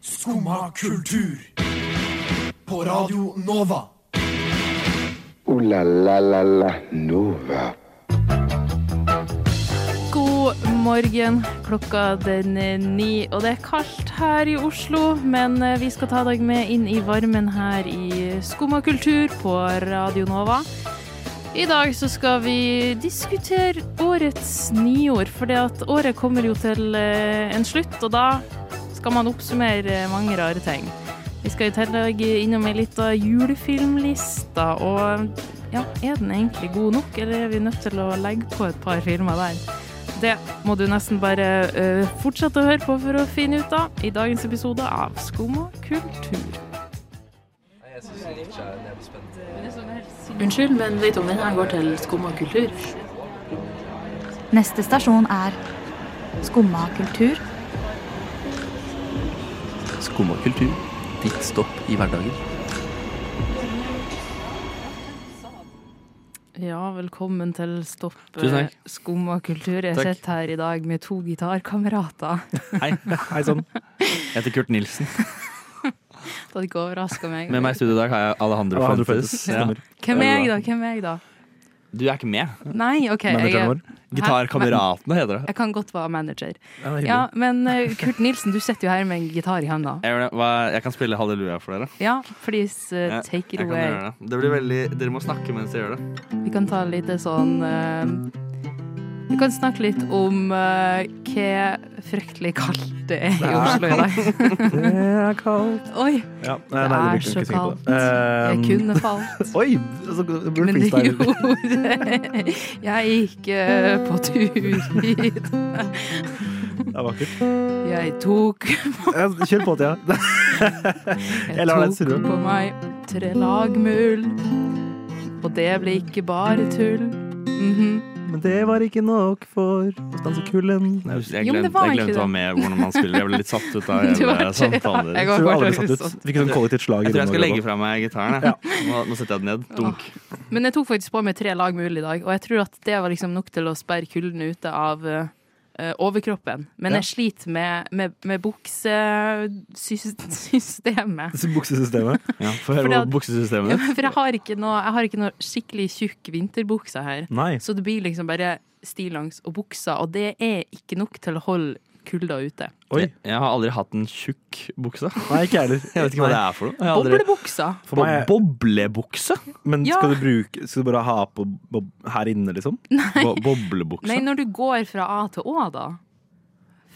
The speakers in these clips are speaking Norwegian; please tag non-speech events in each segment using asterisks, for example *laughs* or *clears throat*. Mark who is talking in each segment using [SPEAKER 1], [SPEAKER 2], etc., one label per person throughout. [SPEAKER 1] Skumma kultur. På Radio Nova.
[SPEAKER 2] Ooh la la la la Nova.
[SPEAKER 3] God morgen. Klokka den er ni, og det er kaldt her i Oslo. Men eh, vi skal ta deg med inn i varmen her i Skumma kultur på Radio Nova. I dag så skal vi diskutere årets nyord, for året kommer jo til eh, en slutt, og da skal man oppsummere mange rare ting. Vi skal i tillegg innom ei lita julefilmliste, og ja, er den egentlig god nok, eller er vi nødt til å legge på et par filmer der? Det må du nesten bare ø, fortsette å høre på for å finne ut av i dagens episode av Skum og kultur.
[SPEAKER 4] Jeg syns ikke er nebbespent.
[SPEAKER 3] Unnskyld, men vet du om denne går til Skum og kultur?
[SPEAKER 5] Neste stasjon er Skumma kultur.
[SPEAKER 6] Skum og kultur. Ditt stopp i hverdagen.
[SPEAKER 3] Ja, velkommen til Stopp ø,
[SPEAKER 6] Tusen takk.
[SPEAKER 3] Skum og kultur. Jeg
[SPEAKER 6] Takk.
[SPEAKER 3] sitter her i dag med to gitarkamerater.
[SPEAKER 6] *laughs* Hei. Hei sann. Jeg heter Kurt Nilsen.
[SPEAKER 3] Det hadde ikke overraska meg.
[SPEAKER 6] Med meg i studio i dag har jeg Alejandro,
[SPEAKER 7] Alejandro
[SPEAKER 6] Fuentes.
[SPEAKER 7] Fuentes, stemmer.
[SPEAKER 6] Ja.
[SPEAKER 3] Hvem er jeg, da? Hvem er jeg da?
[SPEAKER 6] Du er ikke med.
[SPEAKER 3] Nei, OK. Jeg,
[SPEAKER 7] Manageren
[SPEAKER 3] er-
[SPEAKER 7] vår.
[SPEAKER 6] Gitarkameratene heter det.
[SPEAKER 3] jeg kan godt være manager.
[SPEAKER 7] Ja, det er
[SPEAKER 3] Ja,
[SPEAKER 7] hyggelig.
[SPEAKER 3] Men ø, Kurt Nilsen, du sitter jo her med en gitar i handa.
[SPEAKER 6] Jeg, gjør det. Hva, jeg kan spille halleluja for dere.
[SPEAKER 3] Ja, please ø,
[SPEAKER 6] Ja,
[SPEAKER 3] take it
[SPEAKER 6] Jeg kan
[SPEAKER 3] away.
[SPEAKER 6] gjøre det. det blir veldig, dere må snakke mens jeg gjør det.
[SPEAKER 3] Vi kan ta litt sånn eh, Vi kan snakke litt om eh, hva fryktelig kaldt det er i Oslo i dag.
[SPEAKER 7] Det er kaldt.
[SPEAKER 3] *laughs* Oi,
[SPEAKER 7] Ja, nei, nei,
[SPEAKER 3] er
[SPEAKER 7] det virker
[SPEAKER 3] så
[SPEAKER 7] ikke tenke på
[SPEAKER 3] kaldt.
[SPEAKER 7] det.
[SPEAKER 3] jeg
[SPEAKER 7] Ehm,
[SPEAKER 3] kunne
[SPEAKER 7] *laughs*
[SPEAKER 3] falt.
[SPEAKER 7] Oi! Så det burde
[SPEAKER 3] Men det
[SPEAKER 7] freestyle.
[SPEAKER 3] gjorde jeg gikk eh, på tur hit.
[SPEAKER 7] Det er vakkert.
[SPEAKER 3] Jeg tok,
[SPEAKER 7] Ja, Kjør på,
[SPEAKER 3] *laughs*
[SPEAKER 7] Thea. Jeg
[SPEAKER 3] jeg
[SPEAKER 7] lar deg
[SPEAKER 3] tok
[SPEAKER 7] surre.
[SPEAKER 3] på meg tre lag med ull. Og det ble ikke bare tull. Mhm.
[SPEAKER 7] Men det var ikke nok for å stanse kulden.
[SPEAKER 6] Jeg glemte,
[SPEAKER 3] Jo, men det var
[SPEAKER 6] jeg
[SPEAKER 3] egentlig
[SPEAKER 6] glemte å være med hvordan man spiller. Jeg ble litt satt ut av
[SPEAKER 3] *laughs* Du var
[SPEAKER 6] hele
[SPEAKER 3] ikke-
[SPEAKER 6] samtalen
[SPEAKER 3] Jeg
[SPEAKER 6] deres.
[SPEAKER 3] var
[SPEAKER 7] Tror du aldri
[SPEAKER 3] faktisk
[SPEAKER 7] satt ut?
[SPEAKER 3] sånn.
[SPEAKER 7] Hvilket sånn kollektivt slag i
[SPEAKER 6] Jeg tror jeg skal
[SPEAKER 7] rommet
[SPEAKER 6] legge
[SPEAKER 7] går
[SPEAKER 6] fra meg gitaren. jeg. Nå, nå setter jeg den ned. Dunk.
[SPEAKER 3] Men jeg tok faktisk på meg tre lag med ull i dag, og jeg tror at det var liksom nok til å sperre kulden ute av eh, overkroppen. Men jeg sliter med, med, med buksesystemet.
[SPEAKER 7] på. Buksesystemet.
[SPEAKER 6] Ja, Få høre
[SPEAKER 3] Fordi
[SPEAKER 6] hva
[SPEAKER 3] at-
[SPEAKER 6] buksesystemet
[SPEAKER 3] Ja,
[SPEAKER 6] ditt.
[SPEAKER 3] men *laughs* for jeg har, ikke noe, jeg har ikke noe skikkelig tjukk vinterbukse her.
[SPEAKER 7] Nei.
[SPEAKER 3] Så det blir liksom bare stillongs og buksa, og det er ikke nok til å holde kulda ute.
[SPEAKER 7] Oi.
[SPEAKER 6] Jeg, jeg har aldri hatt en tjukk bukse.
[SPEAKER 7] Nei, ikke jeg heller.
[SPEAKER 6] *laughs* Jeg vet ikke hva det er for noe. Jeg har aldri...
[SPEAKER 3] Boblebuksa!
[SPEAKER 7] For meg, er-
[SPEAKER 6] Boblebukse?
[SPEAKER 7] men
[SPEAKER 3] Ja.
[SPEAKER 7] skal du, bruke, skal du bare ha på bob her inne, liksom?
[SPEAKER 6] Bo boblebukse?
[SPEAKER 3] Nei, når du går fra A til Å, da.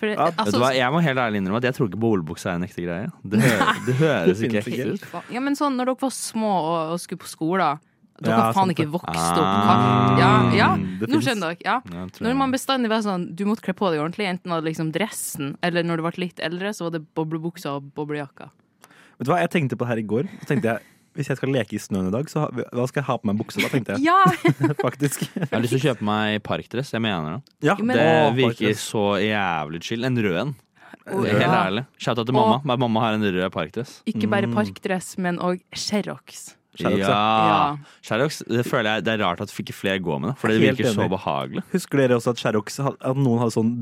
[SPEAKER 3] For det, altså,
[SPEAKER 7] Ja,
[SPEAKER 6] Vet du hva, Jeg må helt ærlig innrømme at jeg tror ikke boblebukse er en ekte greie. Det, hø *laughs* det høres ikke
[SPEAKER 7] Det finnes
[SPEAKER 6] ekte ut.
[SPEAKER 3] Ja, men sånn når dere var små og, og skulle på skolen Dere
[SPEAKER 7] Ja,
[SPEAKER 3] faen
[SPEAKER 7] sant
[SPEAKER 3] ikke
[SPEAKER 7] det. Mm.
[SPEAKER 3] vokste opp
[SPEAKER 6] Ah,
[SPEAKER 3] kaldt. Ja, ja,
[SPEAKER 7] det
[SPEAKER 3] nå
[SPEAKER 7] finnes.
[SPEAKER 3] skjønner dere. Ja.
[SPEAKER 6] Ja, jeg tror
[SPEAKER 3] Når
[SPEAKER 6] jeg-
[SPEAKER 3] man bestandig var sånn Du måtte kle på deg ordentlig, enten av liksom dressen, eller når du ble litt eldre, så var det boblebuksa og boblejakka.
[SPEAKER 7] Vet du hva, jeg tenkte på det her i går. Så tenkte jeg, Hvis jeg skal leke i snøen i dag, så ha- hva skal jeg ha på meg bukse da, tenkte jeg.
[SPEAKER 3] Ja!
[SPEAKER 7] *laughs* Faktisk.
[SPEAKER 6] jeg har lyst til å kjøpe meg parkdress. Jeg mener det.
[SPEAKER 7] Ja,
[SPEAKER 3] Jo, men-
[SPEAKER 6] Det
[SPEAKER 7] Å,
[SPEAKER 6] virker
[SPEAKER 7] faktisk.
[SPEAKER 6] så jævlig chill. En rød en.
[SPEAKER 3] Og,
[SPEAKER 6] Helt ærlig. Shout-out til mamma. Men Mamma har en rød parkdress.
[SPEAKER 3] Ikke bare parkdress, men òg Sherrox.
[SPEAKER 7] Shout-out,
[SPEAKER 3] ja.
[SPEAKER 6] Ja. Sherrox, det føler jeg det er rart at ikke flere går med det, for det
[SPEAKER 7] Helt
[SPEAKER 6] virker så
[SPEAKER 7] enig.
[SPEAKER 6] behagelig.
[SPEAKER 7] Husker dere også at Sherrox had- at noen hadde sånn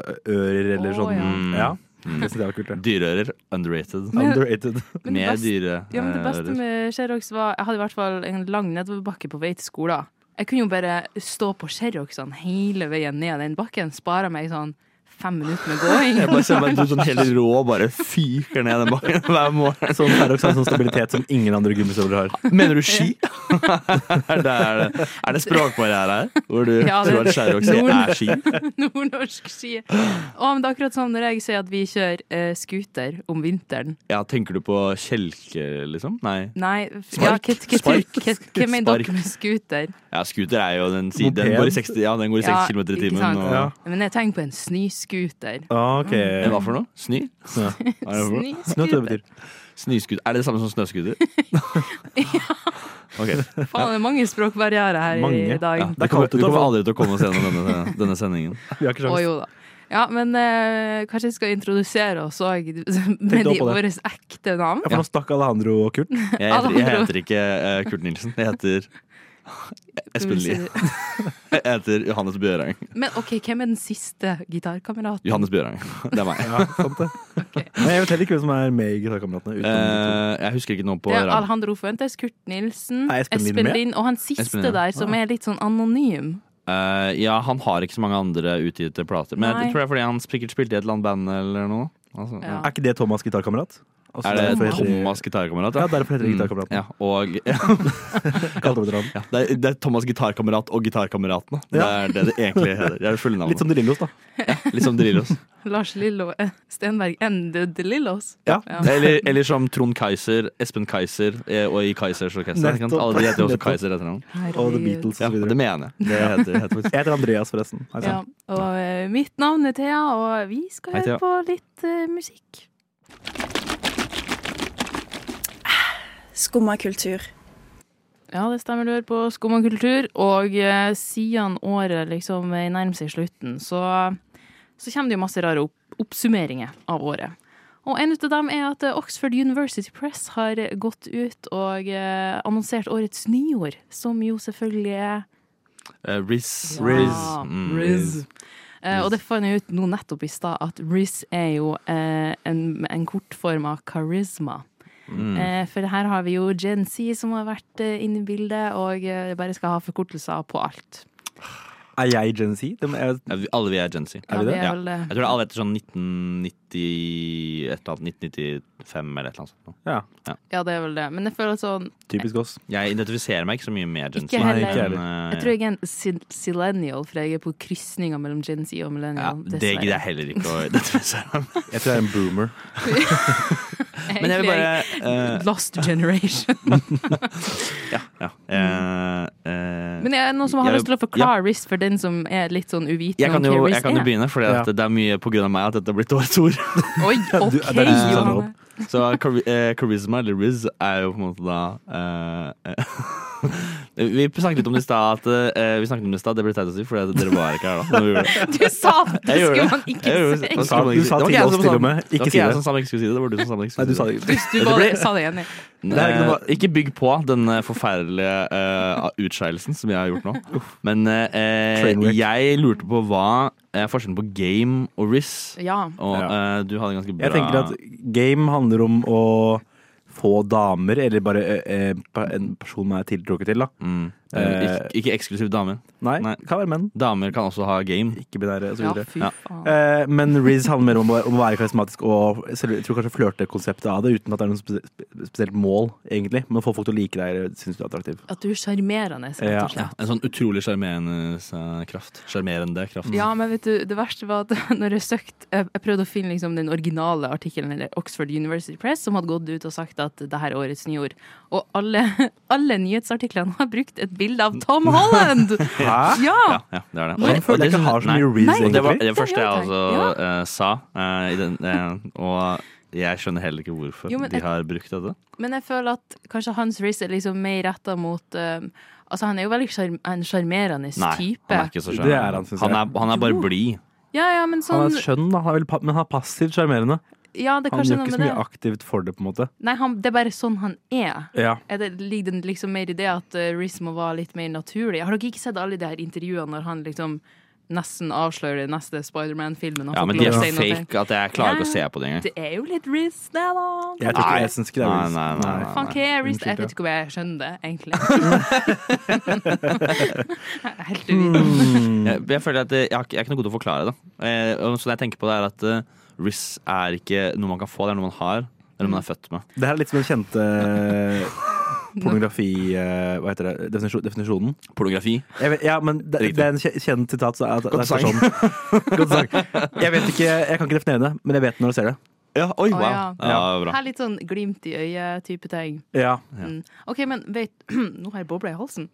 [SPEAKER 7] dyreører eller
[SPEAKER 3] Å,
[SPEAKER 7] sånn?
[SPEAKER 6] ja.
[SPEAKER 7] *laughs* Ja. Det synes jeg var kult. det.
[SPEAKER 6] Dyreører underrated.
[SPEAKER 3] Men-
[SPEAKER 7] Underrated.
[SPEAKER 3] Men
[SPEAKER 6] *laughs*
[SPEAKER 3] det
[SPEAKER 6] Mer eh,
[SPEAKER 3] beste-
[SPEAKER 6] dyreører.
[SPEAKER 3] Ja, men det beste med Sherrox var Jeg hadde i hvert fall en lang nedoverbakke på vei til skolen. Jeg kunne jo bare stå på Sherroxene hele veien ned den bakken. Spare meg sånn fem minutter med gåing.
[SPEAKER 6] *laughs* Jeg bare ser meg du sånn helt rå bare fyker ned den bakken *laughs* hver morgen.
[SPEAKER 7] *laughs* Sånn Sherrox har sånn stabilitet som ingen andre gummistøvler har.
[SPEAKER 6] Mener du
[SPEAKER 3] *laughs*
[SPEAKER 6] ski? er, det, er, det, er det språkbarriere her? Hvor du
[SPEAKER 3] Ja, det-
[SPEAKER 6] tror at skjærrock sier
[SPEAKER 3] Norden.
[SPEAKER 6] er ski?
[SPEAKER 3] *laughs* Nordnorsk ski. Og, men det er akkurat som når jeg sier at vi kjører eh, scooter om vinteren.
[SPEAKER 6] Ja, tenker du på kjelke, liksom? Nei.
[SPEAKER 3] Nei, f- ja,
[SPEAKER 6] Spark.
[SPEAKER 3] hva- hva-
[SPEAKER 6] Spark.
[SPEAKER 3] hva- Hva mener
[SPEAKER 6] Spark.
[SPEAKER 3] dere med scooter?
[SPEAKER 6] Ja, scooter er jo den siden. Den
[SPEAKER 7] Moped.
[SPEAKER 6] går i 60, ja, den går i 60
[SPEAKER 3] Ja,
[SPEAKER 6] km i
[SPEAKER 3] ikke sant.
[SPEAKER 6] timen. Og,
[SPEAKER 7] Ja.
[SPEAKER 3] Men jeg tenker på en snøscooter.
[SPEAKER 7] Ah, Ok.
[SPEAKER 6] Eh, Hva for noe? Sny?
[SPEAKER 7] Snø.
[SPEAKER 6] Hva er det for noe?
[SPEAKER 7] Snø tror jeg
[SPEAKER 3] Snøscooter.
[SPEAKER 7] det betyr.
[SPEAKER 6] Snøscooter. Er det det samme som
[SPEAKER 3] *laughs*
[SPEAKER 6] snøscooter? *laughs* Ok.
[SPEAKER 3] Faen, det er mange språkbarrierer her i
[SPEAKER 7] Mange.
[SPEAKER 3] dag.
[SPEAKER 6] Ja,
[SPEAKER 7] Det
[SPEAKER 6] du
[SPEAKER 7] er
[SPEAKER 6] kommer,
[SPEAKER 7] kaldt ute,
[SPEAKER 6] du kommer
[SPEAKER 7] da.
[SPEAKER 6] aldri til å komme oss gjennom denne, denne sendingen.
[SPEAKER 7] Vi har ikke
[SPEAKER 3] Å
[SPEAKER 7] sjans.
[SPEAKER 3] jo da. Ja, men eh, kanskje jeg skal introdusere oss òg *laughs*
[SPEAKER 7] Tenkte
[SPEAKER 3] med de
[SPEAKER 7] også på
[SPEAKER 3] våre ekte navn.
[SPEAKER 7] Ja, for nå stakk Alejandro og Kurt.
[SPEAKER 6] Jeg heter, jeg heter ikke eh, Kurt Nilsen. Jeg heter Espen Lie. Jeg heter Johannes Bjørang.
[SPEAKER 3] Men ok, hvem er den siste gitarkameraten?
[SPEAKER 6] Johannes Bjørang. Det er meg.
[SPEAKER 7] Ja,
[SPEAKER 6] *laughs*
[SPEAKER 7] sant det. Men jeg vet heller ikke hvem som er med i Gitarkameratene. uten de to.
[SPEAKER 6] Eh, jeg husker ikke noe på
[SPEAKER 3] Det er
[SPEAKER 6] rang.
[SPEAKER 3] Alejandro Fuentes, Kurt Nilsen,
[SPEAKER 7] Er Espen Lind
[SPEAKER 3] Espen
[SPEAKER 7] med?
[SPEAKER 3] Lind og han siste
[SPEAKER 6] Espen Lind, ja.
[SPEAKER 3] der, som er litt sånn anonym.
[SPEAKER 6] Eh, ja, han har ikke så mange andre utgitte plater. Men
[SPEAKER 3] Nei.
[SPEAKER 6] jeg tror det er fordi han sikkert spilte i et eller annet band eller noe. Altså,
[SPEAKER 3] Ja.
[SPEAKER 6] ja.
[SPEAKER 7] Er ikke det Thomas' gitarkamerat? Altså,
[SPEAKER 6] Er det
[SPEAKER 7] derfor heter de-
[SPEAKER 6] Thomas gitarkamerat? Mm,
[SPEAKER 7] Ja, derfor heter de Gitarkameraten.
[SPEAKER 6] Ja, og, *laughs* ja,
[SPEAKER 7] Kalt over til han.
[SPEAKER 6] det, er, det er Thomas gitarkamerat og gitarkameratene. Det
[SPEAKER 7] Ja.
[SPEAKER 6] er det det egentlig heter. Det er det fulle navnet.
[SPEAKER 7] Litt som De Lillos, da.
[SPEAKER 6] sånn- Litt som *laughs* Drillos.
[SPEAKER 3] Lars Lillo eh, Stenberg and the the Lillos.
[SPEAKER 7] Ja.
[SPEAKER 6] Eller, eller som Trond Kaiser, Espen Kaiser eh, og i Kaisers orkester. ikke sant?
[SPEAKER 7] Nettopp.
[SPEAKER 6] Alle de heter jo også
[SPEAKER 7] Nettopp.
[SPEAKER 6] Kaiser etter navn.
[SPEAKER 7] Og The
[SPEAKER 3] Herregud.
[SPEAKER 7] Beatles
[SPEAKER 6] Ja,
[SPEAKER 7] osv.
[SPEAKER 6] det mener jeg. Det heter, heter faktisk.
[SPEAKER 7] Jeg heter Andreas, forresten. Hei
[SPEAKER 3] Ja,
[SPEAKER 7] sann.
[SPEAKER 3] og eh, mitt navn er Thea, og vi skal
[SPEAKER 6] Altså. Hei,
[SPEAKER 3] høre
[SPEAKER 6] Thea.
[SPEAKER 3] på litt eh, musikk.
[SPEAKER 8] Skumma kultur.
[SPEAKER 3] Ja, det stemmer. Du hører på Skum og kultur, og eh, siden året liksom eh, nærmer seg slutten, så, så kommer det jo masse rare opp oppsummeringer av året. Og en ut av dem er at eh, Oxford University Press har eh, gått ut og eh, annonsert årets nyord, som jo selvfølgelig er
[SPEAKER 6] Eh, Riz.
[SPEAKER 3] Ja.
[SPEAKER 6] Mm.
[SPEAKER 3] Eh, og det fant jeg ut nå nettopp i stad, at Riz er jo eh, en, en kortform av karisma.
[SPEAKER 6] Mm.
[SPEAKER 3] Eh, for her har vi jo Gen Z som har vært eh, inne i bildet, og eh, bare skal ha forkortelser på alt.
[SPEAKER 7] Er jeg Gen Z? Det må- jeg-
[SPEAKER 6] Ja, vi- Alle vi er Gen Z.
[SPEAKER 3] Ja,
[SPEAKER 7] vi det?
[SPEAKER 3] vi er
[SPEAKER 6] Ja.
[SPEAKER 3] vel, eh,
[SPEAKER 6] Jeg tror det er alle etter sånn 1990 et eller annet, 1995 eller et eller annet sånt. nå.
[SPEAKER 7] Ja,
[SPEAKER 3] ja, det er vel det. Men jeg føler sånn
[SPEAKER 7] typisk oss.
[SPEAKER 6] Jeg identifiserer meg ikke så mye med Gen Z.
[SPEAKER 3] Ikke
[SPEAKER 7] heller.
[SPEAKER 6] men,
[SPEAKER 7] Nei, ikke
[SPEAKER 6] eh,
[SPEAKER 3] Jeg tror jeg er en sil- sillennial, for jeg er på krysninga mellom Gen Z og
[SPEAKER 6] ja,
[SPEAKER 3] millennial.
[SPEAKER 6] det gidder jeg heller ikke å identifisere meg med.
[SPEAKER 7] Jeg tror jeg er en boomer.
[SPEAKER 6] Men jeg vil bare eh,
[SPEAKER 3] *laughs* Lost
[SPEAKER 6] *laughs*
[SPEAKER 3] generation.
[SPEAKER 6] Ja. ja. Eh, eh,
[SPEAKER 3] Men er det noen som har
[SPEAKER 6] Jeg-
[SPEAKER 3] lyst til å forklare RIS for den som er litt sånn uvitende
[SPEAKER 6] jeg kan jo,
[SPEAKER 3] hva RIS
[SPEAKER 6] jeg kan jo
[SPEAKER 3] er?
[SPEAKER 6] begynne, for
[SPEAKER 7] Ja.
[SPEAKER 6] det er mye på grunn av meg at dette er blitt årets ord.
[SPEAKER 3] *laughs* Oi, OK,
[SPEAKER 7] Du- det er du som
[SPEAKER 3] Johanne.
[SPEAKER 7] samler opp.
[SPEAKER 6] *laughs* Så chari- eh, charisma, eller riz, er jo på en måte da eh, *laughs* eh, Vi snakket litt om det i stad. at, eh, Vi snakket om det i stad, det ble teit å si, for dere var ikke her da. Når vi gjorde det.
[SPEAKER 3] Du sa at det
[SPEAKER 6] *laughs* Jeg gjorde
[SPEAKER 3] skulle
[SPEAKER 6] det.
[SPEAKER 3] man ikke si! *laughs*
[SPEAKER 6] Jeg gjorde det. Hva skal man ikke si? Det var ikke jeg som sa- det var ikke
[SPEAKER 7] Du sa til oss til og med, ikke si
[SPEAKER 6] jeg
[SPEAKER 7] det.
[SPEAKER 6] som sa man ikke skulle si det, det var du som sa man ikke
[SPEAKER 7] Nei,
[SPEAKER 6] skulle
[SPEAKER 7] du sa
[SPEAKER 6] si det.
[SPEAKER 7] det ikke.
[SPEAKER 3] Du bare sa det enig.
[SPEAKER 7] Det er ikke noe-
[SPEAKER 6] Eh, Ikke bygg på denne forferdelige eh, utskeielsen som jeg har
[SPEAKER 7] *laughs*
[SPEAKER 6] gjort nå. Men eh,
[SPEAKER 7] Trainwreck.
[SPEAKER 6] jeg lurte på hva er forskjellen på game og riz.
[SPEAKER 3] Ja.
[SPEAKER 6] Og
[SPEAKER 7] Ja.
[SPEAKER 6] eh, du hadde ganske bra
[SPEAKER 7] Jeg tenker at game handler om å få damer, eller bare eh, eh, pa- en person man er tiltrukket til, da.
[SPEAKER 6] mm, eh,
[SPEAKER 7] Eh,
[SPEAKER 6] ikke, ikke eksklusivt damer.
[SPEAKER 7] Nei,
[SPEAKER 6] Nei.
[SPEAKER 7] kan være menn.
[SPEAKER 6] Damer kan også ha game.
[SPEAKER 7] Ikke-binære osv.
[SPEAKER 3] ja,
[SPEAKER 7] videre
[SPEAKER 3] fy
[SPEAKER 6] Ja.
[SPEAKER 3] faen.
[SPEAKER 7] Eh, men Riz handler mer om å, om å være karismatisk og selv, jeg tror kanskje flørte konseptet av det, uten at det er noe spe, spe- spesielt mål, egentlig. Men å få folk til å like deg, eller synes du er attraktiv.
[SPEAKER 3] At du er sjarmerende, rett
[SPEAKER 7] Ja.
[SPEAKER 3] og slett.
[SPEAKER 6] En sånn utrolig sjarmerende eh, kraft. Sjarmerende kraft.
[SPEAKER 3] Ja, men vet du, det verste var at *laughs* når jeg søkte Jeg jeg prøvde å finne liksom den originale artikkelen, eller Oxford University Press, som hadde gått ut og sagt at det her er årets nyord. Og alle, *laughs* alle nyhetsartiklene har brukt et bilde av Tom
[SPEAKER 6] *laughs*
[SPEAKER 3] Holland!
[SPEAKER 7] Hæ?
[SPEAKER 3] Ja!
[SPEAKER 6] Ja, ja, det er det.
[SPEAKER 7] Jeg føler jeg ikke har så
[SPEAKER 6] Nei.
[SPEAKER 7] mye Riz,
[SPEAKER 3] Nei.
[SPEAKER 6] Og det var
[SPEAKER 7] egentlig.
[SPEAKER 6] det første jeg
[SPEAKER 3] Ja, takk.
[SPEAKER 6] altså
[SPEAKER 3] Ja.
[SPEAKER 6] eh, sa. eh, i den, eh, og jeg skjønner heller ikke hvorfor
[SPEAKER 3] Jo, men
[SPEAKER 6] de
[SPEAKER 3] et-
[SPEAKER 6] har brukt dette.
[SPEAKER 3] Men jeg føler at kanskje Hans Riis er liksom mer retta mot eh, Altså, han er jo veldig sjarm- en sjarmerende
[SPEAKER 6] Nei,
[SPEAKER 3] type.
[SPEAKER 6] han er ikke så
[SPEAKER 7] Det er han,
[SPEAKER 6] sjarmerende.
[SPEAKER 7] synes
[SPEAKER 6] Han,
[SPEAKER 7] jeg.
[SPEAKER 6] er- han er bare blid.
[SPEAKER 3] Ja, ja, men
[SPEAKER 7] Han
[SPEAKER 3] sånn
[SPEAKER 7] er skjønn, da, han er vel pa men han er passivt sjarmerende.
[SPEAKER 3] Ja, det er
[SPEAKER 7] Han
[SPEAKER 3] kanskje
[SPEAKER 7] gjør
[SPEAKER 3] noe
[SPEAKER 7] ikke
[SPEAKER 3] med det.
[SPEAKER 7] så mye aktivt for det, på en måte.
[SPEAKER 3] Nei, han, det er bare sånn han er.
[SPEAKER 7] Ja.
[SPEAKER 3] er det, ligger det liksom mer i det at eh, Riz må være litt mer naturlig? Har dere ikke sett alle de her intervjuene når han liksom nesten avslører den neste Spiderman-filmen? og
[SPEAKER 6] Ja,
[SPEAKER 3] får
[SPEAKER 6] men
[SPEAKER 3] ikke
[SPEAKER 6] de er
[SPEAKER 3] lov
[SPEAKER 6] så
[SPEAKER 3] til å si noe
[SPEAKER 6] fake at jeg klarer ikke å se på det
[SPEAKER 3] til-
[SPEAKER 6] engang.
[SPEAKER 3] Det er jo litt Riz, det, da.
[SPEAKER 6] Nei.
[SPEAKER 7] Jeg, tror ikke, jeg synes ikke det er
[SPEAKER 6] Nei,
[SPEAKER 7] Riz.
[SPEAKER 6] nei, nei, nei.
[SPEAKER 3] Faen, hva er Riz?
[SPEAKER 7] Unnskyld,
[SPEAKER 3] Jeg
[SPEAKER 7] ja.
[SPEAKER 3] vet ikke om jeg skjønner det, egentlig.
[SPEAKER 6] *laughs*
[SPEAKER 3] Jeg er *laughs* Helt uvitende.
[SPEAKER 6] Mm. Jeg, Eh, jeg føler at jeg, jeg, har ikke- jeg er ikke noe god til å forklare det. Eh, og så det jeg tenker på det er at eh, Riz er ikke noe man kan få, det er noe man har. Eller noe man er født med.
[SPEAKER 7] Det her er litt som den
[SPEAKER 6] *laughs*
[SPEAKER 7] kjente pornografi... eh, Hva heter det? Definisjon, definisjonen?
[SPEAKER 6] Pornografi.
[SPEAKER 7] Jeg vet, ja, men det,
[SPEAKER 6] Riktig.
[SPEAKER 7] det er en kje- kjent sitat. Så er, det-
[SPEAKER 6] Godt
[SPEAKER 7] det er
[SPEAKER 6] sang.
[SPEAKER 7] sånn.
[SPEAKER 6] *laughs*
[SPEAKER 7] Godt sang. Jeg vet ikke, jeg kan ikke definere det, men jeg vet når du ser det.
[SPEAKER 6] Ja, oi,
[SPEAKER 3] Å, ja.
[SPEAKER 6] Ja, bra.
[SPEAKER 3] Her litt sånn glimt i øyet-type ting.
[SPEAKER 7] Ja.
[SPEAKER 3] Mm. OK, men vet *clears throat* Nå har jeg bobla i halsen.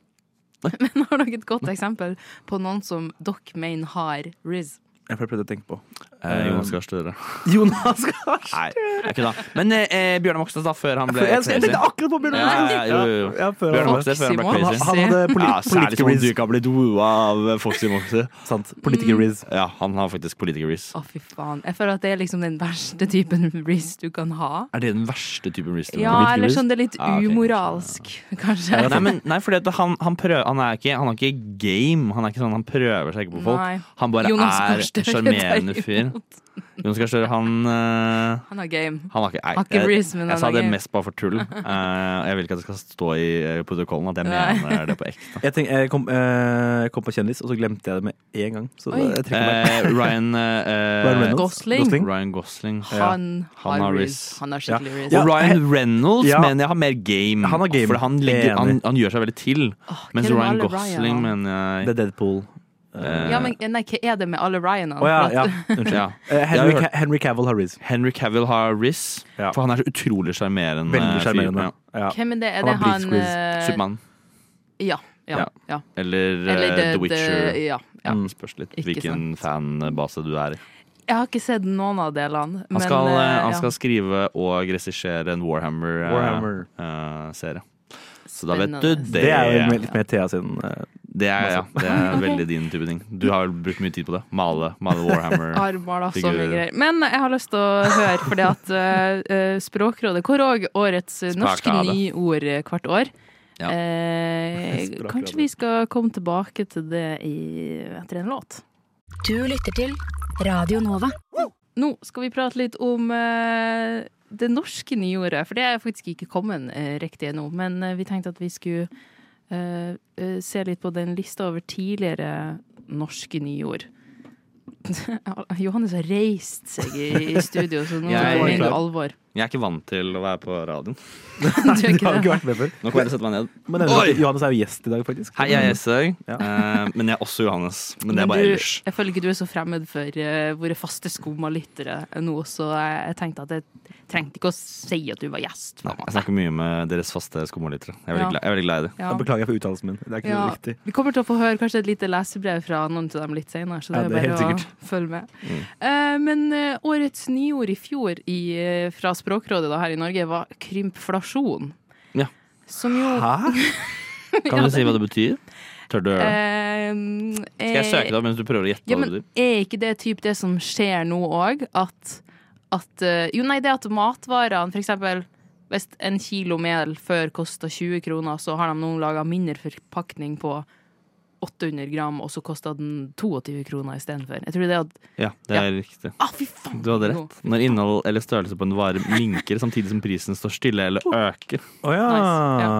[SPEAKER 3] *laughs* Men har dere et godt eksempel på noen som dere mener har Riz?
[SPEAKER 7] Jeg prøvde å tenke på.
[SPEAKER 6] Eh, Jonas Gahr Støre.
[SPEAKER 7] Jonas Gahr Støre.
[SPEAKER 6] Nei, jeg kødda. Men eh, eh, Bjørnar Moxnes, da, før han ble
[SPEAKER 7] Jeg jeg
[SPEAKER 6] crazy.
[SPEAKER 7] tenkte akkurat på Bjørnar
[SPEAKER 6] Ja,
[SPEAKER 7] Moxnes.
[SPEAKER 6] ja, jo, jo, jo.
[SPEAKER 7] Ja, før
[SPEAKER 6] Bjørnar
[SPEAKER 7] han-
[SPEAKER 6] Moxnes før han ble
[SPEAKER 3] Foxy
[SPEAKER 7] han,
[SPEAKER 3] Moxnes.
[SPEAKER 6] crazy.
[SPEAKER 7] han hadde
[SPEAKER 6] Ja,
[SPEAKER 7] polit
[SPEAKER 6] særlig som om du
[SPEAKER 7] politiker-riz.
[SPEAKER 6] ikke har blitt woa av eh, Foxy Moxy.
[SPEAKER 7] Sant. Politiker-riz.
[SPEAKER 6] Ja, han har faktisk politiker-riz.
[SPEAKER 3] Å, fy faen. Jeg føler at det er liksom den verste typen *laughs* riz du kan ha.
[SPEAKER 6] Er det den verste typen riz?
[SPEAKER 3] Ja, eller sånn det er litt
[SPEAKER 6] Ah, ok.
[SPEAKER 3] umoralsk, kanskje.
[SPEAKER 6] Nei, men, nei fordi at han, han, prøver, han, er ikke, han er ikke game. Han er ikke sånn, han prøver seg ikke på folk.
[SPEAKER 3] Nei.
[SPEAKER 6] Han bare
[SPEAKER 3] Jonas Gahr
[SPEAKER 6] er
[SPEAKER 3] Støre, *laughs*
[SPEAKER 6] sjarmerende
[SPEAKER 3] derimot.
[SPEAKER 6] fyr. Jonas Gahr Støre, han eh,
[SPEAKER 3] Han har game.
[SPEAKER 6] Han var ikke, nei,
[SPEAKER 3] Har ikke
[SPEAKER 6] jeg,
[SPEAKER 3] riz, men
[SPEAKER 6] jeg
[SPEAKER 3] han
[SPEAKER 6] sa
[SPEAKER 3] er
[SPEAKER 6] det
[SPEAKER 3] game.
[SPEAKER 6] mest bare for
[SPEAKER 3] *laughs*
[SPEAKER 6] tull. Eh, jeg vil ikke at det skal stå i eh, protokollen at jeg
[SPEAKER 3] Nei.
[SPEAKER 6] mener det på *laughs* ekte.
[SPEAKER 7] Jeg, tenk, jeg, kom, eh, jeg kom på kjendis, og så glemte jeg det med en gang. Så
[SPEAKER 3] Oi.
[SPEAKER 7] jeg trekker meg.
[SPEAKER 6] Eh, Ryan, eh,
[SPEAKER 7] Ryan Reynolds.
[SPEAKER 3] Gosling.
[SPEAKER 6] Ryan Gosling.
[SPEAKER 3] Han
[SPEAKER 6] Han har
[SPEAKER 3] har riz.
[SPEAKER 6] riz.
[SPEAKER 3] Han har skikkelig riz.
[SPEAKER 7] Ja. eh,
[SPEAKER 6] Og Ryan Reynolds
[SPEAKER 7] Ja.
[SPEAKER 6] mener jeg har mer game.
[SPEAKER 7] Han har game.
[SPEAKER 6] For han, ligger,
[SPEAKER 7] Enig.
[SPEAKER 6] han, han gjør seg veldig til.
[SPEAKER 3] Åh, hva er det
[SPEAKER 6] Mens
[SPEAKER 3] med
[SPEAKER 6] Ryan
[SPEAKER 3] alle
[SPEAKER 6] Gosling
[SPEAKER 3] Ryan-ene?
[SPEAKER 6] mener
[SPEAKER 7] Det
[SPEAKER 6] jeg
[SPEAKER 7] er Deadpool.
[SPEAKER 6] eh,
[SPEAKER 3] Ja, men nei, hva er det med alle Ryanene?
[SPEAKER 7] Å ja,
[SPEAKER 3] *laughs*
[SPEAKER 7] ja. Unnskyld.
[SPEAKER 6] ja.
[SPEAKER 7] Eh,
[SPEAKER 6] Jeg
[SPEAKER 7] Henry,
[SPEAKER 6] har
[SPEAKER 7] Ca- Henry Cavill har riz.
[SPEAKER 6] Henry Cavill har Riz,
[SPEAKER 7] Ja.
[SPEAKER 6] for han er så utrolig sjarmerende.
[SPEAKER 7] Veldig
[SPEAKER 6] Eh, fyr.
[SPEAKER 7] sjarmerende.
[SPEAKER 6] Ja.
[SPEAKER 7] Ja.
[SPEAKER 3] Hvem er det? Er
[SPEAKER 7] Han
[SPEAKER 3] det
[SPEAKER 7] har
[SPEAKER 3] han
[SPEAKER 7] britisk riz.
[SPEAKER 3] eh,
[SPEAKER 6] Supermann.
[SPEAKER 3] Ja.
[SPEAKER 6] Ja.
[SPEAKER 3] ja, ja.
[SPEAKER 6] Eller, eh,
[SPEAKER 3] Eller
[SPEAKER 6] The, Witcher.
[SPEAKER 3] The, ja, ja.
[SPEAKER 6] Mm. Spørs litt
[SPEAKER 3] Ikke
[SPEAKER 6] hvilken fanbase du er i.
[SPEAKER 3] Jeg har ikke sett noen av delene.
[SPEAKER 6] Han skal,
[SPEAKER 3] men,
[SPEAKER 6] eh,
[SPEAKER 3] eh,
[SPEAKER 6] han
[SPEAKER 3] ja.
[SPEAKER 6] skal skrive og regissere en eh, Warhammer-serie.
[SPEAKER 7] Warhammer.
[SPEAKER 6] så da vet du
[SPEAKER 3] Spennende.
[SPEAKER 6] det.
[SPEAKER 7] Det er jo mer- litt mer Thea sin.
[SPEAKER 3] *laughs*
[SPEAKER 7] eh,
[SPEAKER 6] Det er, ja, det er veldig din type ting. Du har vel brukt mye tid på det. Male, male
[SPEAKER 3] *laughs*
[SPEAKER 6] Warhammer.
[SPEAKER 3] Armer, da, så mye
[SPEAKER 6] Figurer.
[SPEAKER 3] greier. Men jeg har lyst til å høre, fordi at eh, eh, Språkrådet kår òg årets eh, norske
[SPEAKER 6] Språkrådet.
[SPEAKER 3] nyord eh, hvert år.
[SPEAKER 6] Ja.
[SPEAKER 3] Eh,
[SPEAKER 7] *laughs* Språkrådet.
[SPEAKER 3] kanskje vi skal komme tilbake til det i, etter en låt.
[SPEAKER 5] Du lytter til Radio
[SPEAKER 9] *laughs*
[SPEAKER 5] Nova.
[SPEAKER 3] Nå skal vi prate litt om eh, det norske nyordet, for det er faktisk ikke kommet eh, riktig ennå. Men eh, vi tenkte at vi skulle eh, eh, se litt på den lista over tidligere norske nyord. *laughs* Johannes har reist seg i, i studio, så nå
[SPEAKER 6] *laughs* Jeg-
[SPEAKER 3] mener du alvor.
[SPEAKER 6] Jeg er ikke vant til å være på radioen.
[SPEAKER 3] Du er
[SPEAKER 7] *laughs* Du
[SPEAKER 3] ikke
[SPEAKER 7] har
[SPEAKER 3] det.
[SPEAKER 7] ikke vært med før.
[SPEAKER 6] Nå kan jeg sette meg ned.
[SPEAKER 7] Men jeg vet
[SPEAKER 6] Oi!
[SPEAKER 7] at Johannes er jo gjest i dag, faktisk.
[SPEAKER 6] Hei, jeg er Esøg,
[SPEAKER 7] Ja.
[SPEAKER 6] eh, men jeg er også Johannes. Men det er
[SPEAKER 3] Men
[SPEAKER 6] bare
[SPEAKER 3] du-
[SPEAKER 6] ellers.
[SPEAKER 3] Jeg føler ikke du er så fremmed for eh, våre faste skummalyttere nå, så jeg, jeg tenkte at jeg trengte ikke å si at du var gjest. på
[SPEAKER 6] Nei,
[SPEAKER 3] en
[SPEAKER 6] jeg
[SPEAKER 3] måte.
[SPEAKER 6] snakker mye med deres faste skumolitere. Jeg er veldig
[SPEAKER 3] Ja.
[SPEAKER 6] glad- jeg er veldig glad i dem.
[SPEAKER 3] *laughs* Ja.
[SPEAKER 7] Jeg beklager for uttalelsen min. Det er ikke
[SPEAKER 3] Ja,
[SPEAKER 7] noe riktig.
[SPEAKER 3] Vi kommer til å få høre kanskje et lite lesebrev fra noen av dem litt senere, så det
[SPEAKER 7] Ja,
[SPEAKER 3] er
[SPEAKER 7] det er
[SPEAKER 3] bare
[SPEAKER 7] helt Mm.
[SPEAKER 3] å følge med. Eh, men eh, årets nyord i fjor i, eh, fra Språkrådet da, her i Norge var krympflasjon.
[SPEAKER 6] Ja.
[SPEAKER 3] Som jo
[SPEAKER 7] Hæ?
[SPEAKER 6] Kan du si hva det betyr? Tør du gjøre det?
[SPEAKER 3] eh,
[SPEAKER 6] Skal jeg søke
[SPEAKER 3] er-
[SPEAKER 6] det opp mens du prøver å gjette
[SPEAKER 3] Ja,
[SPEAKER 6] hva det
[SPEAKER 3] men
[SPEAKER 6] betyr?
[SPEAKER 3] er ikke det typ det som skjer nå òg? At, at eh, Jo, nei, det at matvarene, for eksempel hvis en kilo mel før kosta 20 kroner, så har de nå laga mindre forpakning på 800 gram, og så kosta den 22 kroner istedenfor. Jeg tror det at
[SPEAKER 6] Ja, det er riktig.
[SPEAKER 3] Å, Ah, fy faen!
[SPEAKER 6] Du hadde rett. Når innhold eller størrelse på en vare minker samtidig som prisen står stille eller øker.
[SPEAKER 7] Å ja.
[SPEAKER 3] Nice,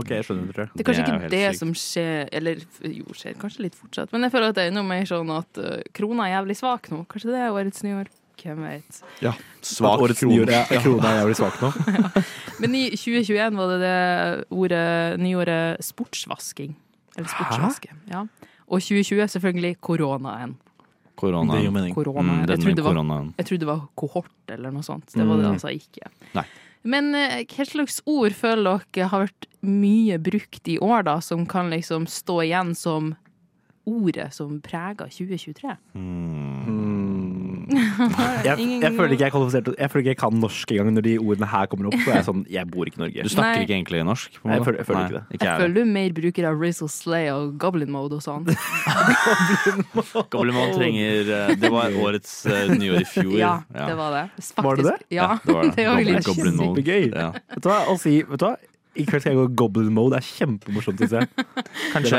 [SPEAKER 7] Ok, jeg skjønner det, tror jeg.
[SPEAKER 3] Det er kanskje
[SPEAKER 6] Det er jo
[SPEAKER 3] ikke
[SPEAKER 6] helt
[SPEAKER 3] det
[SPEAKER 6] sykt.
[SPEAKER 3] som skjer Eller f- jo, skjer kanskje litt fortsatt. Men jeg føler at det er noe mer sånn at eh, krona er jævlig svak nå. Kanskje det er årets nyår? Hvem vet.
[SPEAKER 6] Ja.
[SPEAKER 7] At
[SPEAKER 6] Svak
[SPEAKER 7] årets nyord
[SPEAKER 6] krone.
[SPEAKER 7] er krona er jævlig svak nå.
[SPEAKER 3] *laughs* Men i 2021 var det det ordet, nyordet sportsvasking. Eller sportsvaske. Ja. Og 2020 selvfølgelig koronaen.
[SPEAKER 6] Korona.
[SPEAKER 7] mening.
[SPEAKER 3] Koronaen.
[SPEAKER 6] Mm,
[SPEAKER 3] jeg,
[SPEAKER 6] den
[SPEAKER 3] trodde
[SPEAKER 6] med
[SPEAKER 3] det var,
[SPEAKER 6] koronaen.
[SPEAKER 3] jeg trodde det var kohort eller noe sånt. Det var det altså ikke.
[SPEAKER 6] Mm. Nei.
[SPEAKER 3] Men eh, hva slags ord føler dere har vært mye brukt i år, da, som kan liksom stå igjen som ordet som preger 2023?
[SPEAKER 7] Jeg, jeg
[SPEAKER 3] Ingen-
[SPEAKER 7] føler ikke jeg, er kvalifisert til- jeg føler ikke jeg kan norsk engang når de ordene her kommer opp. Så er jeg sånn, jeg bor ikke i Norge.
[SPEAKER 6] Du snakker
[SPEAKER 3] Nei.
[SPEAKER 6] ikke egentlig norsk? på en
[SPEAKER 7] Nei, jeg
[SPEAKER 6] måte.
[SPEAKER 7] føler- jeg føler ikke det.
[SPEAKER 6] jeg
[SPEAKER 3] Jeg
[SPEAKER 6] heller.
[SPEAKER 3] føler du mer bruker av Rizzle Slay og Goblin Mode og sånn.
[SPEAKER 6] Gobblemon trenger eh, Det *laughs* var årets eh, nyår i fjor.
[SPEAKER 3] Ja, det var det. Faktisk,
[SPEAKER 7] Var det det?
[SPEAKER 3] Ja,
[SPEAKER 6] det
[SPEAKER 3] *laughs*
[SPEAKER 6] var det.
[SPEAKER 3] det var
[SPEAKER 6] Goblin-
[SPEAKER 3] litt
[SPEAKER 6] Goblin
[SPEAKER 3] sykt.
[SPEAKER 6] Mode.
[SPEAKER 7] Kjempegøy.
[SPEAKER 6] Ja.
[SPEAKER 7] Vet du hva? Å si, vet du hva? I kveld skal jeg gå i goblin mode. Det er kjempemorsomt, syns
[SPEAKER 6] *laughs*
[SPEAKER 7] jeg.
[SPEAKER 6] Kanskje,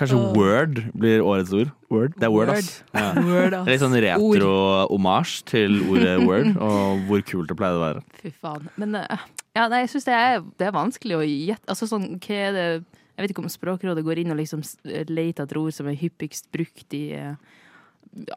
[SPEAKER 6] kanskje word blir årets ord?
[SPEAKER 7] Word.
[SPEAKER 6] Det er word, ass. Ja.
[SPEAKER 3] *laughs* Word,
[SPEAKER 6] Det er Litt sånn retro-omasj til ordet
[SPEAKER 3] *laughs*
[SPEAKER 6] word, og hvor kult det pleide å være.
[SPEAKER 3] Fy faen. Men eh, ja, nei, jeg syns det, er- det er vanskelig å gjette Altså sånn, hva er det Jeg vet ikke om Språkrådet går inn og liksom s- leter etter ord som er hyppigst brukt i eh,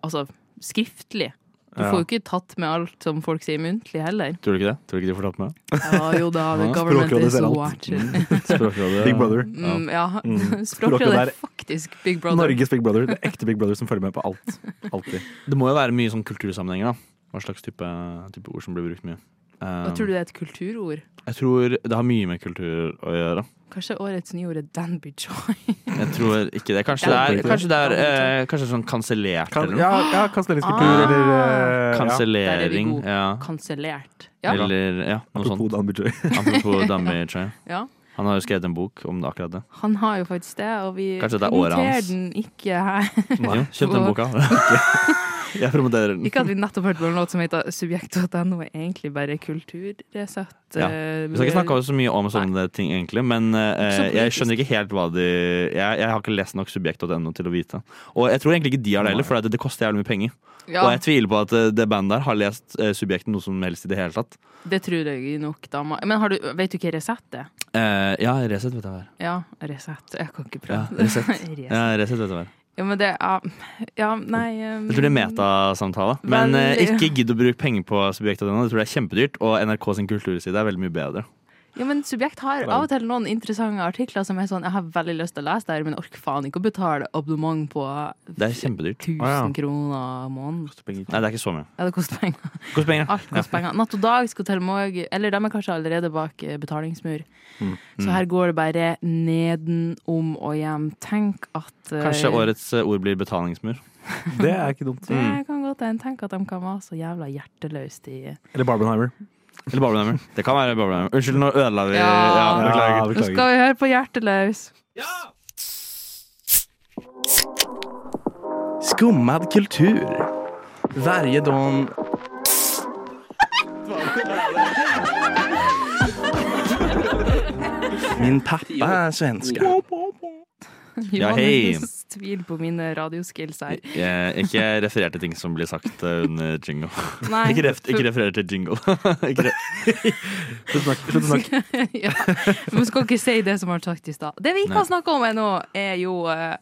[SPEAKER 3] Altså skriftlig. Du får jo ikke tatt med alt som folk sier muntlig
[SPEAKER 6] *laughs*
[SPEAKER 3] heller.
[SPEAKER 6] Tror du ikke det? Tror du ikke de får tatt med det?
[SPEAKER 3] Ja, jo da, the
[SPEAKER 6] Ja,
[SPEAKER 3] government
[SPEAKER 7] Språkrådet
[SPEAKER 3] is
[SPEAKER 7] ser alt.
[SPEAKER 3] watching.
[SPEAKER 7] *laughs*
[SPEAKER 6] Språkrådet
[SPEAKER 7] Big Brother.
[SPEAKER 3] Mm, ja. *laughs*
[SPEAKER 7] Språkrådet
[SPEAKER 3] Språkrådet
[SPEAKER 7] er
[SPEAKER 3] er faktisk Big Brother.
[SPEAKER 7] Norges Big Brother. Det er ekte Big Brother som følger med på alt. Alltid.
[SPEAKER 6] Det må jo være mye sånn kultursammenhenger, da. Hva slags type, type ord som blir brukt mye. Eh,
[SPEAKER 3] Og tror du det er et kulturord?
[SPEAKER 6] Jeg tror det har mye med kultur å gjøre.
[SPEAKER 3] Kanskje årets nyord er Danby Joy?
[SPEAKER 6] Jeg tror ikke det. Kanskje det er, kanskje det er, eh, kanskje det er sånn kansellert
[SPEAKER 7] Kan,
[SPEAKER 6] eller noe.
[SPEAKER 7] ja, ja kanselleringskultur
[SPEAKER 3] Ah.
[SPEAKER 7] eller eh,
[SPEAKER 6] Kansellering.
[SPEAKER 3] Der er vi gode.
[SPEAKER 6] Ja.
[SPEAKER 3] *laughs* Kansellert. Ja.
[SPEAKER 6] Ja. Eller ja,
[SPEAKER 7] ja.
[SPEAKER 6] noe
[SPEAKER 7] Apropos
[SPEAKER 6] sånt.
[SPEAKER 7] Dan Bujøy.
[SPEAKER 6] Apropos Dummy Chai.
[SPEAKER 3] *laughs* ja.
[SPEAKER 6] Han har jo skrevet en bok om det akkurat det.
[SPEAKER 3] Han har jo faktisk det, og vi
[SPEAKER 6] Kanskje det er året
[SPEAKER 3] kommenterer
[SPEAKER 6] hans.
[SPEAKER 3] den ikke her.
[SPEAKER 6] Jo, kjøp den boka. *laughs* Jeg promoterer den.
[SPEAKER 3] Ikke at vi nettopp hørte på en låt som heter Subjekt.no, er egentlig bare eh, kulturresatt.
[SPEAKER 6] Ja. Vi skal ikke snakke så mye om sånne ting, egentlig, men eh,
[SPEAKER 3] Ikke så
[SPEAKER 6] jeg
[SPEAKER 3] politisk.
[SPEAKER 6] skjønner ikke helt hva de Jeg, jeg har ikke lest nok subjekt.no til å vite. Og jeg tror egentlig ikke de har det heller, for det, det koster jævlig mye penger.
[SPEAKER 3] ja,
[SPEAKER 6] Og jeg tviler på at eh, det bandet der har lest eh, subjektet noe som helst i det hele tatt.
[SPEAKER 3] Det tror jeg nok, da. må- Men har du, vet du hva Resett er?
[SPEAKER 6] Eh, ja, Resett vet jeg hva er.
[SPEAKER 3] Ja, Resett. Jeg kan ikke
[SPEAKER 6] Ja,
[SPEAKER 3] prøve.
[SPEAKER 6] Resett.
[SPEAKER 3] Resett.
[SPEAKER 6] Ja, Resett vet jeg hva er.
[SPEAKER 3] Ja, men det er Ja, nei um,
[SPEAKER 6] Jeg tror det er metasamtale. Men eh,
[SPEAKER 3] Veldig.
[SPEAKER 6] ikke gidd å bruke penger på subjektet ennå. Det tror jeg er kjempedyrt. Og NRK sin kulturside er veldig mye bedre.
[SPEAKER 3] Ja, men Subjekt har av og til noen interessante artikler som er sånn Jeg har veldig lyst til å lese det her, men jeg orker faen ikke å betale abonnement på
[SPEAKER 6] Det er kjempedyrt.
[SPEAKER 3] 1000 kroner måneden.
[SPEAKER 6] Nei, det er ikke så mye.
[SPEAKER 3] Ja, det koster penger.
[SPEAKER 6] Koster penger.
[SPEAKER 3] Alt koster penger. Natt og dag skal til morgen Eller de er kanskje allerede bak eh, betalingsmur.
[SPEAKER 6] Mm.
[SPEAKER 3] Så her går det bare nedenom og hjem. Tenk at eh,
[SPEAKER 6] Kanskje årets eh, ord blir betalingsmur.
[SPEAKER 7] Det er ikke dumt.
[SPEAKER 3] Det
[SPEAKER 6] Mm.
[SPEAKER 3] kan godt hende. Tenk at de kan være så jævla hjerteløst i
[SPEAKER 7] Eller Barbenheimer.
[SPEAKER 6] Eller Barbenheimer. Det kan være Barbenheimer. Unnskyld, nå ødela vi ja.
[SPEAKER 3] Ja.
[SPEAKER 7] Ah.
[SPEAKER 6] beklager.
[SPEAKER 7] Ja,
[SPEAKER 3] Nå skal vi høre på Hjerteløs. *laughs*
[SPEAKER 7] Skummad kultur. Varje dag Min pappa er svenska.
[SPEAKER 6] Ja, hei.
[SPEAKER 3] Johannes tvil på mine radioskills
[SPEAKER 6] *laughs*
[SPEAKER 3] her.
[SPEAKER 6] Eh, ikke referer til ting som blir sagt eh, under jingle.
[SPEAKER 3] Nei.
[SPEAKER 6] Ikke, ref, ikke referer til jingle. *laughs* ikke re
[SPEAKER 3] *laughs* *laughs* ja. Men skal ikke si det som har vært sagt i stad. Det vi ikke har snakka om ennå, er jo eh,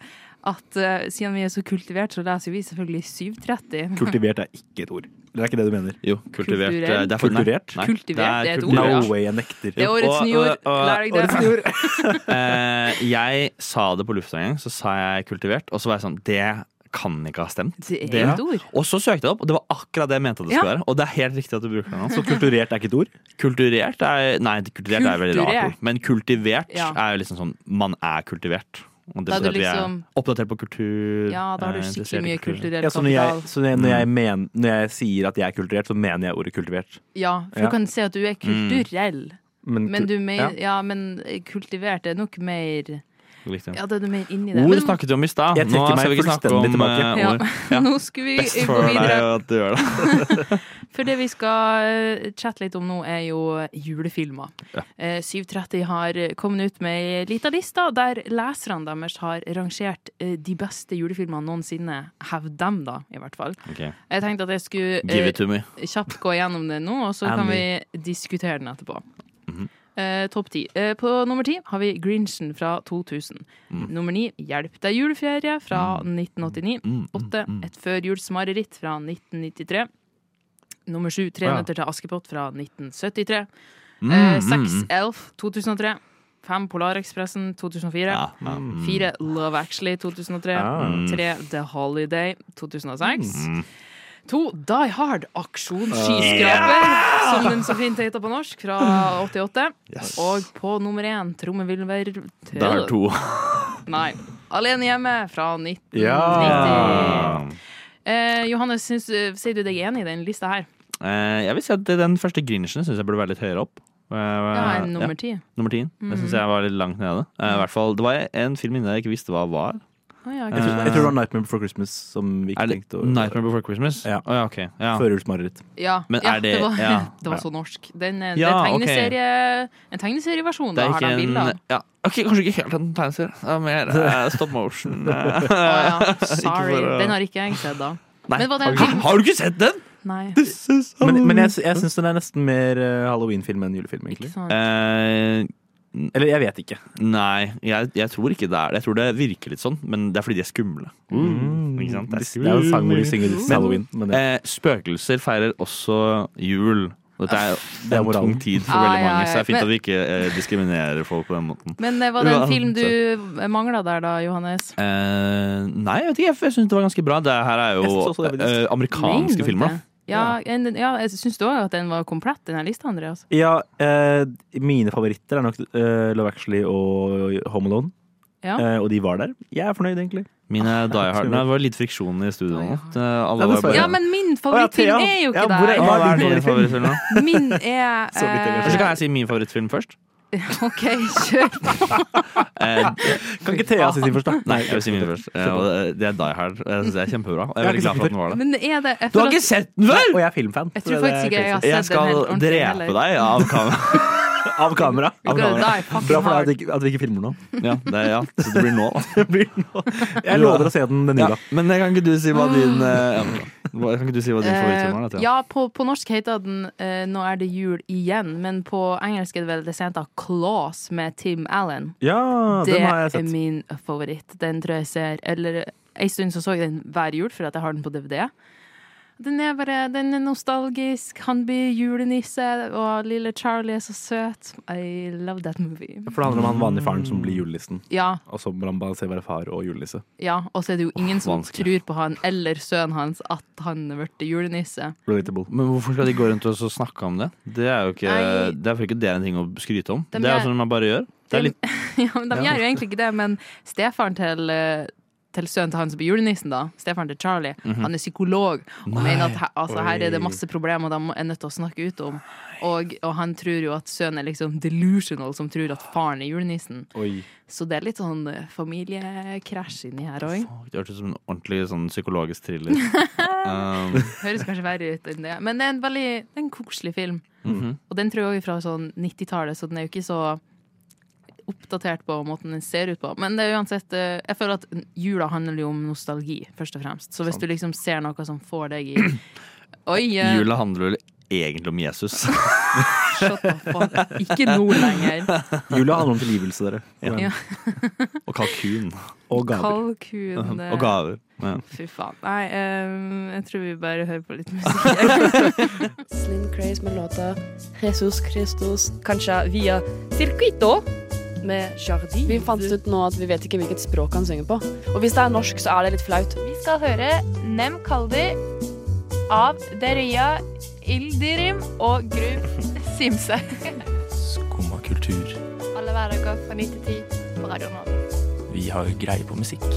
[SPEAKER 3] at eh, siden vi er så kultivert, så leser vi selvfølgelig 730.
[SPEAKER 7] Kultivert er ikke et ord. Det er ikke det du mener.
[SPEAKER 6] jo, kultivert.
[SPEAKER 3] Kulturell.
[SPEAKER 6] eh, det er for- nei.
[SPEAKER 7] Kulturert?
[SPEAKER 6] Nei,
[SPEAKER 3] Kultivert, det er et ord,
[SPEAKER 7] No
[SPEAKER 6] kulturert.
[SPEAKER 3] ja.
[SPEAKER 7] way, jeg nekter.
[SPEAKER 3] Det er årets
[SPEAKER 6] Og-
[SPEAKER 3] nyord.
[SPEAKER 6] og- og-
[SPEAKER 3] Lær deg det.
[SPEAKER 6] Eh, jeg sa det på lufta en gang, så sa jeg kultivert, og så var jeg sånn Det kan ikke ha stemt.
[SPEAKER 3] Det er
[SPEAKER 6] Det-
[SPEAKER 3] et ord.
[SPEAKER 6] Og så søkte jeg opp, og det var akkurat det jeg mente det skulle være. Og det er helt riktig at du bruker det nå.
[SPEAKER 7] Så kulturert er ikke et ord?
[SPEAKER 6] Kulturert er Nei, kulturert er veldig rart.
[SPEAKER 3] Kulturert.
[SPEAKER 6] ord. Men kultivert
[SPEAKER 3] Ja.
[SPEAKER 6] er jo liksom sånn Man er kultivert. Og
[SPEAKER 3] Da
[SPEAKER 6] det
[SPEAKER 3] er
[SPEAKER 6] betyr
[SPEAKER 3] du
[SPEAKER 6] at vi
[SPEAKER 3] liksom-
[SPEAKER 6] er oppdatert på kultur.
[SPEAKER 3] Ja, da har
[SPEAKER 6] eh,
[SPEAKER 3] du
[SPEAKER 6] interessert i
[SPEAKER 3] skikkelig mye
[SPEAKER 6] kultur.
[SPEAKER 3] kulturell
[SPEAKER 7] Ja, så når jeg,
[SPEAKER 3] kapital.
[SPEAKER 7] så når jeg, når
[SPEAKER 3] Mm.
[SPEAKER 7] jeg, men, når jeg sier at jeg er kulturert, så mener jeg ordet kultivert.
[SPEAKER 3] Ja, for
[SPEAKER 7] Ja.
[SPEAKER 3] du kan si at du er kulturell, men
[SPEAKER 7] kul-
[SPEAKER 3] du mer,
[SPEAKER 7] ja.
[SPEAKER 3] ja, men kultivert er nok mer
[SPEAKER 6] Riktig.
[SPEAKER 3] Ja, da er du mer inni det.
[SPEAKER 6] Ord
[SPEAKER 3] Men-
[SPEAKER 6] snakket vi om i stad.
[SPEAKER 7] Jeg
[SPEAKER 6] Nå
[SPEAKER 7] trekker meg
[SPEAKER 6] skal vi ikke snakke
[SPEAKER 7] fullstendig
[SPEAKER 6] om
[SPEAKER 7] tilbake.
[SPEAKER 6] eh,
[SPEAKER 3] ja.
[SPEAKER 6] ord.
[SPEAKER 3] Nå skal
[SPEAKER 6] *laughs*
[SPEAKER 3] vi
[SPEAKER 6] Best
[SPEAKER 3] gå
[SPEAKER 6] for deg
[SPEAKER 3] videre.
[SPEAKER 6] at du gjør det.
[SPEAKER 3] For det vi skal eh, chatte litt om nå, er jo julefilmer. Eh, 730 har kommet ut med ei lita liste der leserne deres har rangert eh, de beste julefilmene noensinne. Hevd dem, da, i hvert fall.
[SPEAKER 6] Ok.
[SPEAKER 3] Jeg tenkte at jeg skulle
[SPEAKER 6] Eh, Give
[SPEAKER 3] eh,
[SPEAKER 6] it to me.
[SPEAKER 3] kjapt gå gjennom det nå, og så kan vi diskutere den etterpå. Eh, Topp ti. Eh, på nummer ti har vi Grinchen fra 2000. Nummer ni Hjelp deg juleferie fra 1989. Åtte Et førjulsmareritt fra 1993. Nummer sju Tre
[SPEAKER 7] Ja.
[SPEAKER 3] nøtter til Askepott fra 1973. Eh, Seks Elf 2003. Fem Polarekspressen 2004.
[SPEAKER 6] Ja, ja.
[SPEAKER 3] Fire Love Actually 2003. Tre The Holiday 2006. To Die Hard
[SPEAKER 6] Ah.
[SPEAKER 3] Aksjonsskyskraper, som den så fint heter på norsk, fra
[SPEAKER 6] Mm.
[SPEAKER 3] 88. Og på nummer én Trommevilver
[SPEAKER 6] Det er to.
[SPEAKER 3] Nei. Alene hjemme fra 1990.
[SPEAKER 7] Ja.
[SPEAKER 3] Eh, Johannes, syns, eh, sier du deg enig i den lista her?
[SPEAKER 6] *laughs* Eh, jeg vil si at den første Grinchen syns jeg burde være litt høyere opp.
[SPEAKER 3] Det
[SPEAKER 6] Eh,
[SPEAKER 3] er
[SPEAKER 6] ja.
[SPEAKER 3] nummer Mhm. ti.
[SPEAKER 6] Nummer 10. Det syns jeg var litt langt nede. Eh, i hvert fall, det var en film inni der jeg ikke visste hva var.
[SPEAKER 3] Å, ja,
[SPEAKER 7] Jeg, tror,
[SPEAKER 3] kanskje
[SPEAKER 7] jeg tror det var Nightmare Before Christmas som vi ikke
[SPEAKER 6] Er det
[SPEAKER 7] tenkte å
[SPEAKER 6] Nightmare Before Christmas?
[SPEAKER 7] Ja.
[SPEAKER 6] Å, ja, ok. Ja.
[SPEAKER 7] Førjulsmareritt.
[SPEAKER 3] det- ja,
[SPEAKER 6] Men
[SPEAKER 3] ja,
[SPEAKER 6] er det-
[SPEAKER 3] var,
[SPEAKER 6] ja.
[SPEAKER 3] *laughs* det var så norsk. Den, er- det
[SPEAKER 6] Ja,
[SPEAKER 3] er
[SPEAKER 6] ok.
[SPEAKER 3] tegneserie, en tegneserieversjon.
[SPEAKER 6] Det
[SPEAKER 3] Da
[SPEAKER 6] er
[SPEAKER 3] har
[SPEAKER 6] ikke
[SPEAKER 3] de
[SPEAKER 6] en
[SPEAKER 3] bilder.
[SPEAKER 6] ja. Ok, kanskje ikke helt en tegneserie. Det
[SPEAKER 3] *laughs*
[SPEAKER 6] er mer eh, stop motion. Eh,
[SPEAKER 3] Å, ja. Sorry.
[SPEAKER 6] for å-
[SPEAKER 3] Den har ikke jeg sett, da.
[SPEAKER 6] *laughs* Nei,
[SPEAKER 3] Men var det en
[SPEAKER 6] har,
[SPEAKER 3] film?
[SPEAKER 6] du, har du ikke sett den?!
[SPEAKER 3] Nei.
[SPEAKER 7] Men, men jeg,
[SPEAKER 3] Mm.
[SPEAKER 7] jeg syns den er nesten mer eh, halloween-film enn julefilm,
[SPEAKER 3] Ikke
[SPEAKER 7] egentlig.
[SPEAKER 3] sant.
[SPEAKER 6] Eh,
[SPEAKER 7] Eller jeg vet ikke.
[SPEAKER 6] nei, jeg, jeg tror ikke det er det. Jeg tror det virker litt sånn, men det er fordi de er skumle. Ikke sant?
[SPEAKER 7] Mm. Det er jo en sang hvor de synger halloween. Men det,
[SPEAKER 6] Eh, spøkelser feirer også jul. Og Dette er
[SPEAKER 7] Det er
[SPEAKER 6] en tung
[SPEAKER 7] moralen.
[SPEAKER 6] tid for
[SPEAKER 3] Ah,
[SPEAKER 6] veldig
[SPEAKER 3] ja,
[SPEAKER 6] mange,
[SPEAKER 3] ja.
[SPEAKER 6] så det er fint
[SPEAKER 3] Men-
[SPEAKER 6] at vi ikke eh, diskriminerer folk på den måten.
[SPEAKER 3] Men eh, var det en
[SPEAKER 6] Uansett.
[SPEAKER 3] film du mangla der, da, Johannes?
[SPEAKER 6] Eh, nei, jeg vet ikke. Jeg, jeg syns det var ganske bra. Det her er
[SPEAKER 7] Jeg
[SPEAKER 6] jo
[SPEAKER 7] synes også det var litt-
[SPEAKER 6] eh,
[SPEAKER 3] Mener
[SPEAKER 6] amerikanske
[SPEAKER 3] du
[SPEAKER 6] filmer.
[SPEAKER 3] det? Ja, en, ja jeg syns du òg at den var komplett, den her lista, Andreas.
[SPEAKER 7] Ja, eh, mine favoritter er nok eh, Love Actually og Home Alone.
[SPEAKER 3] Ja.
[SPEAKER 7] Eh, og de var der. Jeg er fornøyd, egentlig.
[SPEAKER 6] Mine Die Hard Nei, Det var litt friksjon i studio nå. Det- Alle
[SPEAKER 7] Ja,
[SPEAKER 6] var
[SPEAKER 7] det
[SPEAKER 6] bare
[SPEAKER 3] Ja, men min favorittfilm
[SPEAKER 7] Thea.
[SPEAKER 3] er jo
[SPEAKER 7] Ja,
[SPEAKER 3] ikke
[SPEAKER 7] hvor er-
[SPEAKER 3] der.
[SPEAKER 6] Hva er
[SPEAKER 7] din
[SPEAKER 6] din
[SPEAKER 7] favorittfilm?
[SPEAKER 6] favorittfilm,
[SPEAKER 3] *laughs*
[SPEAKER 6] da?
[SPEAKER 3] Min er
[SPEAKER 7] Så vidt jeg
[SPEAKER 6] Eller så
[SPEAKER 3] eh,
[SPEAKER 6] kan jeg si min favorittfilm *laughs* først.
[SPEAKER 3] *laughs* OK, kjør.
[SPEAKER 6] Eh,
[SPEAKER 7] Kan ikke Thea si sin først, da?
[SPEAKER 3] *laughs*
[SPEAKER 6] nei, jeg vil si min først. Eh, og det- det er Die Hard. Jeg synes det er kjempebra. Og jeg er
[SPEAKER 7] Jeg har
[SPEAKER 6] veldig
[SPEAKER 7] ikke
[SPEAKER 6] glad for
[SPEAKER 7] sett
[SPEAKER 6] at den var der.
[SPEAKER 3] Men er det jeg
[SPEAKER 6] Du
[SPEAKER 3] føler
[SPEAKER 6] har
[SPEAKER 3] at-
[SPEAKER 6] ikke sett den før?!
[SPEAKER 7] Og jeg er filmfan.
[SPEAKER 3] Jeg
[SPEAKER 7] så
[SPEAKER 3] tror
[SPEAKER 7] det er
[SPEAKER 3] faktisk ikke jeg har
[SPEAKER 7] crazy.
[SPEAKER 3] sett den
[SPEAKER 6] Jeg skal
[SPEAKER 3] helt ordentlig
[SPEAKER 6] drepe
[SPEAKER 3] heller.
[SPEAKER 6] deg av kamera.
[SPEAKER 7] Av kamera.
[SPEAKER 3] You're
[SPEAKER 7] Av
[SPEAKER 3] gonna
[SPEAKER 7] kamera.
[SPEAKER 3] die fucking
[SPEAKER 7] Bra for deg
[SPEAKER 3] hard.
[SPEAKER 7] at, vi ikke- at vi ikke filmer nå.
[SPEAKER 6] *laughs* Ja, det, er- ja. Så det blir nå.
[SPEAKER 7] *laughs* Jeg lover å se den den
[SPEAKER 6] Ja.
[SPEAKER 7] jula.
[SPEAKER 6] Men kan ikke du si hva din eh, hva- Kan ikke du si hva din favorittfilm er? da,
[SPEAKER 3] Ah. Eh,
[SPEAKER 6] Thea?
[SPEAKER 3] ja, på, på norsk heter den eh, 'Nå er det jul igjen', men på engelsk er det vel det som heter 'Claws' med Tim Allen.
[SPEAKER 7] Ja,
[SPEAKER 3] det
[SPEAKER 7] den har jeg
[SPEAKER 3] er
[SPEAKER 7] sett.
[SPEAKER 3] min favoritt. Den tror jeg ser Eller en stund så så jeg den hver jul, for at jeg har den på DVD. Den er bare den er nostalgisk. Han blir julenisse, og lille Charlie er så søt. I love that movie.
[SPEAKER 7] For det handler om han vanlige faren som blir julenissen.
[SPEAKER 3] Ja,
[SPEAKER 7] Og så må han balansere være far og julenisse.
[SPEAKER 3] ja. Og så er det jo ingen som
[SPEAKER 6] vanskelig.
[SPEAKER 3] tror på han eller sønnen hans at han er blitt julenisse.
[SPEAKER 7] Relatable.
[SPEAKER 6] Men hvorfor skal de gå rundt og så snakke om det? Det er jo ikke
[SPEAKER 3] Nei.
[SPEAKER 6] Det er for ikke det er en ting å skryte om.
[SPEAKER 3] De
[SPEAKER 6] det er
[SPEAKER 3] gjør-
[SPEAKER 6] jo sånn man bare gjør. Det
[SPEAKER 3] De,
[SPEAKER 6] er litt,
[SPEAKER 3] *laughs* ja, men de gjør jo egentlig ikke det, men stefaren til eh, til sønnen til han som blir julenissen, da. Stefaren til Charlie. Han er psykolog og
[SPEAKER 6] Mhm. Nei.
[SPEAKER 3] mener at her, altså, her er det
[SPEAKER 7] Oi.
[SPEAKER 3] masse problemer de er nødt til å snakke ut om. Og, og han tror jo at sønnen er liksom delusional, som tror at faren er julenissen.
[SPEAKER 7] Oi.
[SPEAKER 3] Så det er litt sånn eh, familiekrasj inni her òg.
[SPEAKER 6] Fuck, det hørtes ut som en ordentlig sånn psykologisk
[SPEAKER 3] *laughs*
[SPEAKER 6] thriller. um,
[SPEAKER 3] Høres kanskje verre ut enn det, men det er en veldig det er en koselig film.
[SPEAKER 6] mhm.
[SPEAKER 3] Og den tror jeg også er fra sånn 90-tallet, så den er jo ikke så oppdatert på måten den ser ut på. Men det er uansett eh, Jeg føler at jula handler jo om nostalgi, først og fremst. Så hvis du liksom ser noe som får deg i *clears throat* Oi! eh,
[SPEAKER 6] Jula handler vel egentlig om
[SPEAKER 3] *laughs*
[SPEAKER 6] Jesus.
[SPEAKER 3] shut the fuck. Ikke nå
[SPEAKER 6] *laughs*
[SPEAKER 3] lenger.
[SPEAKER 7] Jula handler om tilgivelse, dere.
[SPEAKER 3] Ja.
[SPEAKER 6] Og kalkun.
[SPEAKER 7] Og gaver.
[SPEAKER 3] Kalkun eh,
[SPEAKER 6] *laughs* Og gaver. Ja.
[SPEAKER 3] Fy faen. Nei, eh, jeg tror vi bare hører på litt musikk.
[SPEAKER 8] Slim Craze med låta Jesus Christus Kanskje via Circuito med Jardin. Vi fant ut nå at vi vet ikke hvilket språk han synger på. Og hvis det er norsk, så er det litt flaut.
[SPEAKER 10] Vi skal høre Nem Kaldi av Deria Ildirim og Gru Simse.
[SPEAKER 11] Skumma kultur.
[SPEAKER 10] Alle hverdager fra 9 til 10 på Radio Nova.
[SPEAKER 11] Vi har greie på musikk.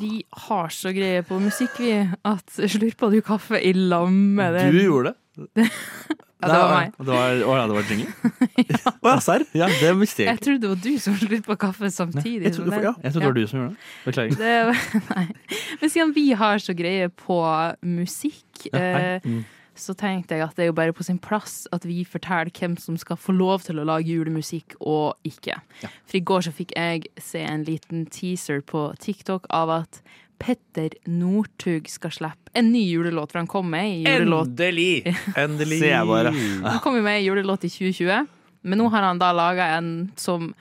[SPEAKER 3] Vi har så greie på musikk, vi, at slurpa du kaffe i lam med det?
[SPEAKER 6] Du
[SPEAKER 3] *laughs*
[SPEAKER 6] gjorde det.
[SPEAKER 3] Ja, det var
[SPEAKER 6] Nei,
[SPEAKER 3] meg.
[SPEAKER 6] Det var, å, ja, det var
[SPEAKER 3] *laughs*
[SPEAKER 6] jingle?
[SPEAKER 7] Å ja, serr?
[SPEAKER 6] Ja, det visste jeg
[SPEAKER 3] Jeg
[SPEAKER 6] ikke.
[SPEAKER 3] trodde det var du som slurpa kaffe samtidig.
[SPEAKER 7] Jeg
[SPEAKER 3] som
[SPEAKER 7] trodde
[SPEAKER 3] den.
[SPEAKER 7] for- ja.
[SPEAKER 6] Jeg trodde det var du som gjorde det. Beklager.
[SPEAKER 3] Det, *laughs* nei. Men siden vi har så greie på musikk, eh, så tenkte jeg at det er jo bare på sin plass at vi forteller hvem som skal få lov til å lage julemusikk og ikke. For i går så fikk jeg se en liten teaser på TikTok av at Petter Northug skal slippe en ny julelåt, for han kom med i julelåt.
[SPEAKER 7] Endelig! Endelig.
[SPEAKER 6] Ser jeg bare.
[SPEAKER 3] Han *laughs* kom jo med i julelåt i 2020, men nå har han da laga en som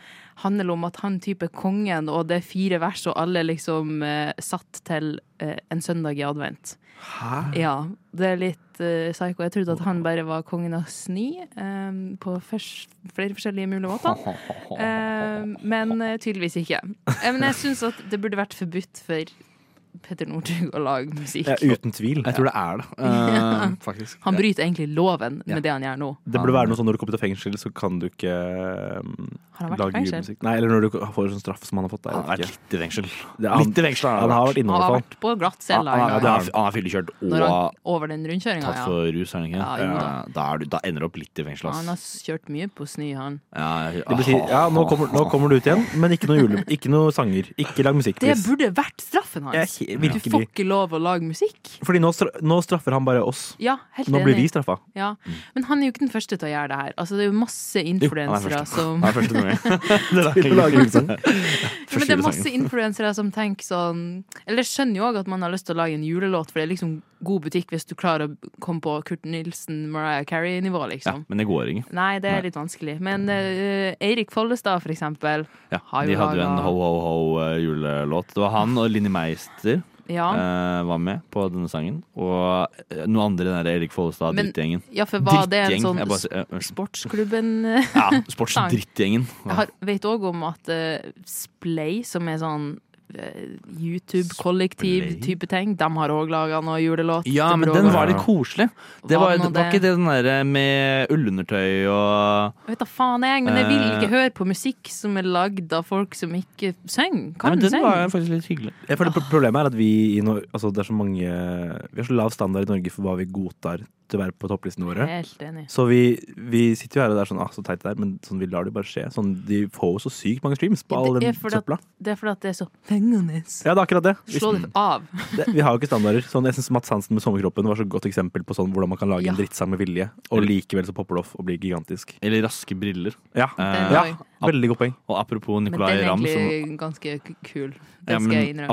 [SPEAKER 3] handler om at han type er kongen, og det er fire vers, og alle liksom eh, satt til eh, en søndag i advent.
[SPEAKER 7] Hæ?
[SPEAKER 3] Ja, det er litt eh, psycho. Jeg trodde at han bare var kongen av sni eh, på først, flere forskjellige mulige
[SPEAKER 7] *laughs*
[SPEAKER 3] måter. Eh, men eh, tydeligvis ikke. Eh, men jeg syns at det burde vært forbudt for Petter Northug å lage musikk.
[SPEAKER 7] Ja, uten tvil.
[SPEAKER 6] Jeg tror det
[SPEAKER 3] *laughs*
[SPEAKER 6] er det, eh, faktisk.
[SPEAKER 3] Han bryter egentlig loven med
[SPEAKER 6] Ja.
[SPEAKER 3] det han gjør nå.
[SPEAKER 7] Det burde være noe sånn når du kommer til fengsel, så kan du ikke um,
[SPEAKER 3] Har han vært i
[SPEAKER 7] lage
[SPEAKER 3] fengsel?
[SPEAKER 7] julemusikk. Nei, eller når du får sånn straff som han har fått.
[SPEAKER 6] Han
[SPEAKER 7] Der,
[SPEAKER 6] har vært litt i fengsel.
[SPEAKER 7] Det- han-
[SPEAKER 6] Litt i fengsel har
[SPEAKER 7] han har vært inne,
[SPEAKER 3] Han
[SPEAKER 7] i
[SPEAKER 3] har
[SPEAKER 7] hvert fall.
[SPEAKER 3] vært på glattcella en
[SPEAKER 7] Ja, ja,
[SPEAKER 3] gang.
[SPEAKER 7] det har
[SPEAKER 6] han har fyllekjørt
[SPEAKER 3] Når
[SPEAKER 6] og
[SPEAKER 3] han over den rundkjøringa,
[SPEAKER 6] tatt
[SPEAKER 3] ja.
[SPEAKER 6] for rus, er han ikke? Eh,
[SPEAKER 3] Ja, jo da.
[SPEAKER 6] da, er du, da ender du opp litt i fengsel,
[SPEAKER 3] Han har
[SPEAKER 6] ass.
[SPEAKER 3] kjørt mye på snø, han.
[SPEAKER 6] Ja, jeg- ah,
[SPEAKER 7] Det betyr, ja, nå kommer, nå kommer du ut igjen, men ikke noe, jule, ikke noe sanger. Ikke lag musikk,
[SPEAKER 3] Det
[SPEAKER 7] please.
[SPEAKER 3] burde vært straffen
[SPEAKER 7] Jeg er
[SPEAKER 3] hans!
[SPEAKER 7] he-
[SPEAKER 3] Du får
[SPEAKER 7] virkelig.
[SPEAKER 3] ikke lov å lage musikk.
[SPEAKER 7] Fordi nå, stra nå straffer han bare oss.
[SPEAKER 3] Ja, helt
[SPEAKER 7] Nå blir vi
[SPEAKER 3] enig. *laughs*
[SPEAKER 7] straffa.
[SPEAKER 3] Ja. Men han er jo ikke den første til å gjøre det her. Altså, det er jo masse
[SPEAKER 6] Mm. Jo, han er
[SPEAKER 3] influensere
[SPEAKER 6] første.
[SPEAKER 3] som
[SPEAKER 6] ah, Det
[SPEAKER 3] *laughs*
[SPEAKER 6] er første nummer. *laughs* Det er
[SPEAKER 7] Til å lage julesang.
[SPEAKER 3] Ja, Men det er masse
[SPEAKER 6] *laughs*
[SPEAKER 3] influensere som tenker sånn Eller jeg skjønner jo òg at man har lyst til å lage en julelåt, for det er liksom god butikk hvis du klarer å komme på Kurt Nilsen, Mariah Carey-nivå,
[SPEAKER 6] Ja,
[SPEAKER 3] liksom.
[SPEAKER 6] men det går ikke.
[SPEAKER 3] Nei, det
[SPEAKER 6] Nei.
[SPEAKER 3] er litt vanskelig. Men eh, Eirik Follestad, for eksempel.
[SPEAKER 6] Ja,
[SPEAKER 3] Har jo
[SPEAKER 6] de hadde jo en
[SPEAKER 3] laget-
[SPEAKER 6] eh, ho-ho-ho-julelåt. Det var han og Linni Meister.
[SPEAKER 3] Ja.
[SPEAKER 6] eh, var med på denne sangen. Og eh, noen andre i den der Erik
[SPEAKER 3] Men-
[SPEAKER 6] Follestad-drittgjengen.
[SPEAKER 3] Ja, for var det en
[SPEAKER 6] Drittgjeng,
[SPEAKER 3] sånn eh,
[SPEAKER 6] jeg bare sier- eh, unnskyld.
[SPEAKER 3] sportsklubben *laughs*
[SPEAKER 6] Ja,
[SPEAKER 3] sang?
[SPEAKER 6] sportsdrittgjengen.
[SPEAKER 3] Jeg har, vet òg om at eh, Splay, som er sånn eh, YouTube-kollektiv-type ting, de har òg laga noe julelåt.
[SPEAKER 6] Ja,
[SPEAKER 3] Det
[SPEAKER 6] men
[SPEAKER 3] burde
[SPEAKER 6] den
[SPEAKER 3] også-
[SPEAKER 6] var litt koselig.
[SPEAKER 3] Var
[SPEAKER 6] Det var,
[SPEAKER 3] den
[SPEAKER 6] det
[SPEAKER 3] og
[SPEAKER 6] var
[SPEAKER 3] det?
[SPEAKER 6] ikke det den derre med ullundertøy og
[SPEAKER 3] Jeg vet da faen, jeg, men jeg vil ikke
[SPEAKER 6] Eh.
[SPEAKER 3] høre på musikk som er lagd av folk som ikke synger.
[SPEAKER 6] Nei,
[SPEAKER 3] Kan
[SPEAKER 6] men Den
[SPEAKER 3] synge.
[SPEAKER 6] var faktisk litt hyggelig.
[SPEAKER 7] Jeg føler pro- Problemet er at vi i Nor altså det er så mange Vi har så lav standard i Norge for hva vi godtar til å være på topplistene våre.
[SPEAKER 3] Helt enig.
[SPEAKER 7] Så vi, vi sitter jo her og det er sånn ah, så teit det er, men sånn, vi lar det bare skje. Sånn, de får jo så sykt mange streams på all
[SPEAKER 3] Det
[SPEAKER 7] den
[SPEAKER 3] er fordi
[SPEAKER 7] søpla.
[SPEAKER 3] at det er, fordi at det er så fengende.
[SPEAKER 7] Ja, det er akkurat det. Hvis-
[SPEAKER 3] Slå det av.
[SPEAKER 7] *laughs* det vi har jo ikke standarder. Sånn, jeg synes Mads Hansen med sommerkroppen var så godt eksempel på sånn, hvordan man kan lage
[SPEAKER 3] Ja.
[SPEAKER 7] en drittsang med vilje, og likevel så popper det off og blir gigantisk.
[SPEAKER 6] Eller raske briller.
[SPEAKER 7] Ja.
[SPEAKER 6] Eh,
[SPEAKER 7] ja.
[SPEAKER 3] Den var-
[SPEAKER 7] Veldig godt poeng.
[SPEAKER 6] Og apropos
[SPEAKER 3] Men den
[SPEAKER 6] Nicolay
[SPEAKER 3] er
[SPEAKER 6] Ramm som
[SPEAKER 3] egentlig ganske k- kul. Det
[SPEAKER 6] Ja,
[SPEAKER 3] skal jeg
[SPEAKER 6] men
[SPEAKER 3] innrømme.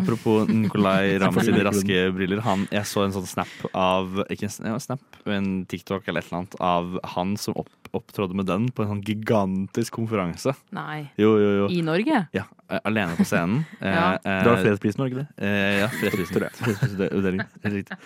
[SPEAKER 3] *laughs*
[SPEAKER 6] apropos Nicolay Ramm sine
[SPEAKER 7] Selvfølgelig.
[SPEAKER 6] raske briller. Han, jeg så en sånn snap av Ikke en sn- ja, snap, en TikTok eller et eller annet av han som opp, opptrådde med den på en sånn gigantisk konferanse.
[SPEAKER 3] Nei.
[SPEAKER 6] Jo, jo, jo.
[SPEAKER 3] I Norge?
[SPEAKER 6] Ja, eh, alene på scenen.
[SPEAKER 3] *laughs* Ja.
[SPEAKER 6] Eh, eh,
[SPEAKER 7] Det var fredsprisen, var det ikke det?
[SPEAKER 6] Eh, ja, fredsprisen. Fredsprisutdeling. Helt riktig.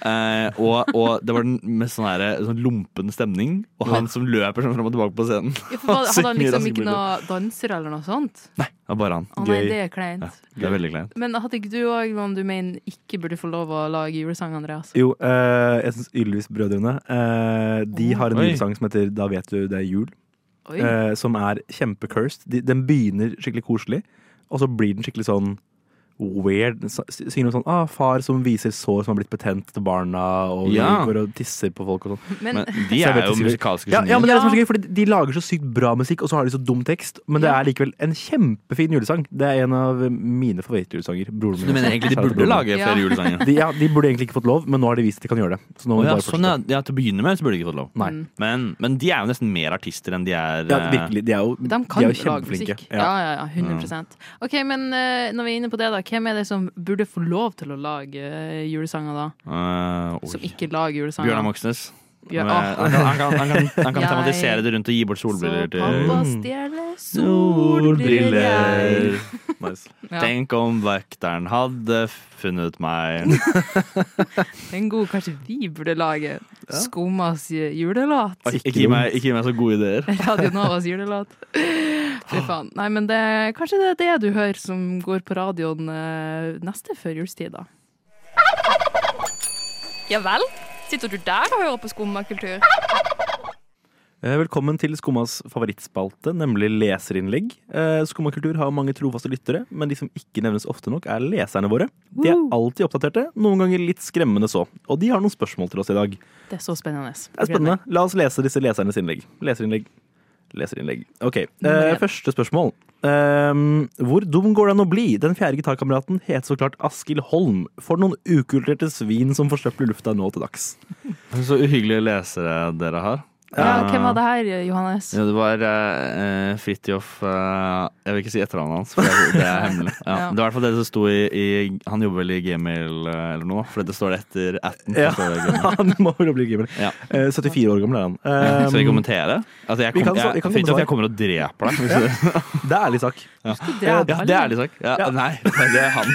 [SPEAKER 6] Eh, og, og det var den mest sånn, her, sånn lumpen stemning, og han som løper sånn fram og tilbake på scenen.
[SPEAKER 3] Ja,
[SPEAKER 6] *laughs*
[SPEAKER 3] for hva- Hadde han
[SPEAKER 6] Sykt mye
[SPEAKER 3] liksom
[SPEAKER 6] raske
[SPEAKER 3] ikke
[SPEAKER 6] briller.
[SPEAKER 3] noen dansere eller noe sånt?
[SPEAKER 6] Nei, det var bare han.
[SPEAKER 3] Å nei,
[SPEAKER 7] Gøy.
[SPEAKER 3] det er kleint.
[SPEAKER 6] Ja, det er veldig kleint.
[SPEAKER 3] Men hadde ikke du òg noen du mener ikke burde få lov å lage julesang, Andreas?
[SPEAKER 7] Jo, eh, jeg syns Ylvis-brødrene eh, De
[SPEAKER 3] Oh.
[SPEAKER 7] har en
[SPEAKER 6] Oi.
[SPEAKER 7] julesang som heter 'Da vet du det er jul',
[SPEAKER 3] Oi.
[SPEAKER 7] eh, som er kjempecursed. De, den begynner skikkelig koselig, og så blir den skikkelig sånn weird. Den s- Synger om sånn ah, 'far som viser sår som har blitt betent til barna', og
[SPEAKER 6] Ja.
[SPEAKER 7] går og tisser på folk og sånn.
[SPEAKER 3] Men
[SPEAKER 6] Men de
[SPEAKER 7] Så jeg
[SPEAKER 6] er
[SPEAKER 7] vet
[SPEAKER 6] jo
[SPEAKER 7] ikke-
[SPEAKER 6] musikalske
[SPEAKER 7] Ja,
[SPEAKER 6] genier.
[SPEAKER 7] ja, men det er det som er så
[SPEAKER 3] Ja.
[SPEAKER 7] gøy, fordi De lager så sykt bra musikk, og så har de så dum tekst, men det
[SPEAKER 3] Ja.
[SPEAKER 7] er likevel en kjempefin julesang. Det er en av mine favorittjulesanger. Broren min.
[SPEAKER 6] Du mener egentlig de burde lage
[SPEAKER 3] Ja.
[SPEAKER 6] flere julesanger?
[SPEAKER 7] de, ja, de burde egentlig ikke fått lov, men nå har de vist at de kan gjøre det. Så nå må
[SPEAKER 6] Å
[SPEAKER 7] vi
[SPEAKER 6] ja,
[SPEAKER 7] bare
[SPEAKER 6] sånn,
[SPEAKER 7] fortsette.
[SPEAKER 6] ja. Mm. ja, til å begynne med så burde de ikke fått lov.
[SPEAKER 7] Nei.
[SPEAKER 6] Men, men de er jo nesten mer artister enn de er
[SPEAKER 7] Ja,
[SPEAKER 6] eh,
[SPEAKER 7] virkelig. De er jo,
[SPEAKER 3] de kan
[SPEAKER 7] de er jo
[SPEAKER 3] lage
[SPEAKER 7] kjempeflinke.
[SPEAKER 3] musikk. Ja, ja, ja. 100 OK, men eh, når vi er inne på det, da. Hvem er det som burde få lov til å lage eh, julesanger, da?
[SPEAKER 6] eh, oi.
[SPEAKER 3] Som ikke lager julesanger?
[SPEAKER 6] Bjørnar Moxnes.
[SPEAKER 3] Bjør-
[SPEAKER 6] Men,
[SPEAKER 3] Åh.
[SPEAKER 6] han kan, han kan, han kan,
[SPEAKER 3] *laughs*
[SPEAKER 6] han kan
[SPEAKER 3] Jeg-
[SPEAKER 6] tematisere det rundt og gi bort solbriller
[SPEAKER 3] Så
[SPEAKER 6] til
[SPEAKER 3] pappa stjeler solbriller.
[SPEAKER 7] Nice.
[SPEAKER 3] Ja,
[SPEAKER 6] Tenk om vekteren hadde funnet meg.
[SPEAKER 7] *laughs*
[SPEAKER 3] den gode kanskje vi burde lage. Skummas julelåt.
[SPEAKER 6] Ikke gi meg, ikke gi meg så gode ideer.
[SPEAKER 7] *laughs*
[SPEAKER 3] Radio Novas julelåt. Fy faen. Nei, men det, kanskje det er det du hører som går på radioen eh, neste før julstid, da.
[SPEAKER 10] Ja vel? Sitter du der og hører på skummakultur?
[SPEAKER 7] Eh, Velkommen til Skummas favorittspalte, nemlig leserinnlegg. Eh, Skumma kultur har mange trofaste lyttere, men de som ikke nevnes ofte nok, er leserne våre. De er alltid oppdaterte, noen ganger litt skremmende så. Og de har noen spørsmål til oss i dag. Det
[SPEAKER 3] Det er så spennende.
[SPEAKER 7] er spennende. La oss lese disse lesernes innlegg. Leserinnlegg. Leserinnlegg. Ok, eh,
[SPEAKER 3] Nummer én.
[SPEAKER 7] første spørsmål. Ehm, hvor dum går det an å bli? Den fjerde gitarkameraten het så klart Askild Holm. For noen ukulturerte svin som forsøpler lufta nå til dags.
[SPEAKER 6] Så uhyggelige lesere dere har.
[SPEAKER 3] Ja, hvem var det her, Johannes?
[SPEAKER 6] Ja, det var uh, Fridtjof eh, Jeg vil ikke si etternavnet hans, for det er- det er hemmelig.
[SPEAKER 3] *laughs*
[SPEAKER 6] Ja.
[SPEAKER 3] Ja.
[SPEAKER 6] Det var i hvert fall det som sto i, i Han jobber vel i Gmail eh, eller noe, for det står det etter atten.
[SPEAKER 7] Ja.
[SPEAKER 6] Så det er Gmail.
[SPEAKER 7] *laughs* Han må vel bli gammel.
[SPEAKER 6] Ja.
[SPEAKER 7] Eh, 74 år gammel er han.
[SPEAKER 3] *laughs*
[SPEAKER 6] Skal vi
[SPEAKER 7] Eh,
[SPEAKER 6] kommentere? Altså, jeg,
[SPEAKER 7] Vi
[SPEAKER 6] kom,
[SPEAKER 7] kan- vi
[SPEAKER 6] jeg,
[SPEAKER 7] kan
[SPEAKER 6] Fridtjof,
[SPEAKER 7] kommentere.
[SPEAKER 6] jeg kommer og dreper deg. Hvis du,
[SPEAKER 7] det er ærlig sak.
[SPEAKER 6] ja, det er *laughs* ærlig sak. Ja,
[SPEAKER 7] Ja.
[SPEAKER 6] Nei, det er han.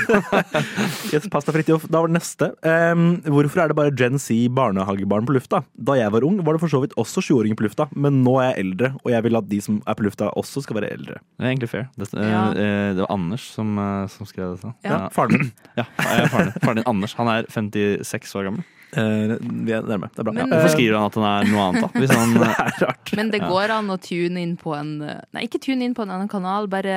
[SPEAKER 7] Yes, pass deg, Fridtjof. Da var det neste. Ehm, hvorfor er det bare Gen Z barnehagebarn på lufta? Da jeg var ung, var det for så vidt også 20-åringer på lufta, men nå er jeg eldre, og jeg vil at de som er på lufta, også skal være eldre.
[SPEAKER 6] Det er egentlig fair. Det, eh,
[SPEAKER 3] Ja.
[SPEAKER 6] eh, det var Anders som, eh, som skrev dette.
[SPEAKER 3] Ja.
[SPEAKER 7] Faren min.
[SPEAKER 6] Ja, eh, faren, din, faren din Anders. Han er 56 år gammel.
[SPEAKER 7] *clears throat* Eh, vi er nærme. Det er bra.
[SPEAKER 3] Men-
[SPEAKER 7] Eh,
[SPEAKER 6] Hvorfor skriver han at han er noe annet, da? Hvis
[SPEAKER 7] *laughs*
[SPEAKER 6] han, eh,
[SPEAKER 7] det er rart.
[SPEAKER 3] *laughs* Men det går an å tune inn på en Nei, ikke tune inn på en annen kanal, bare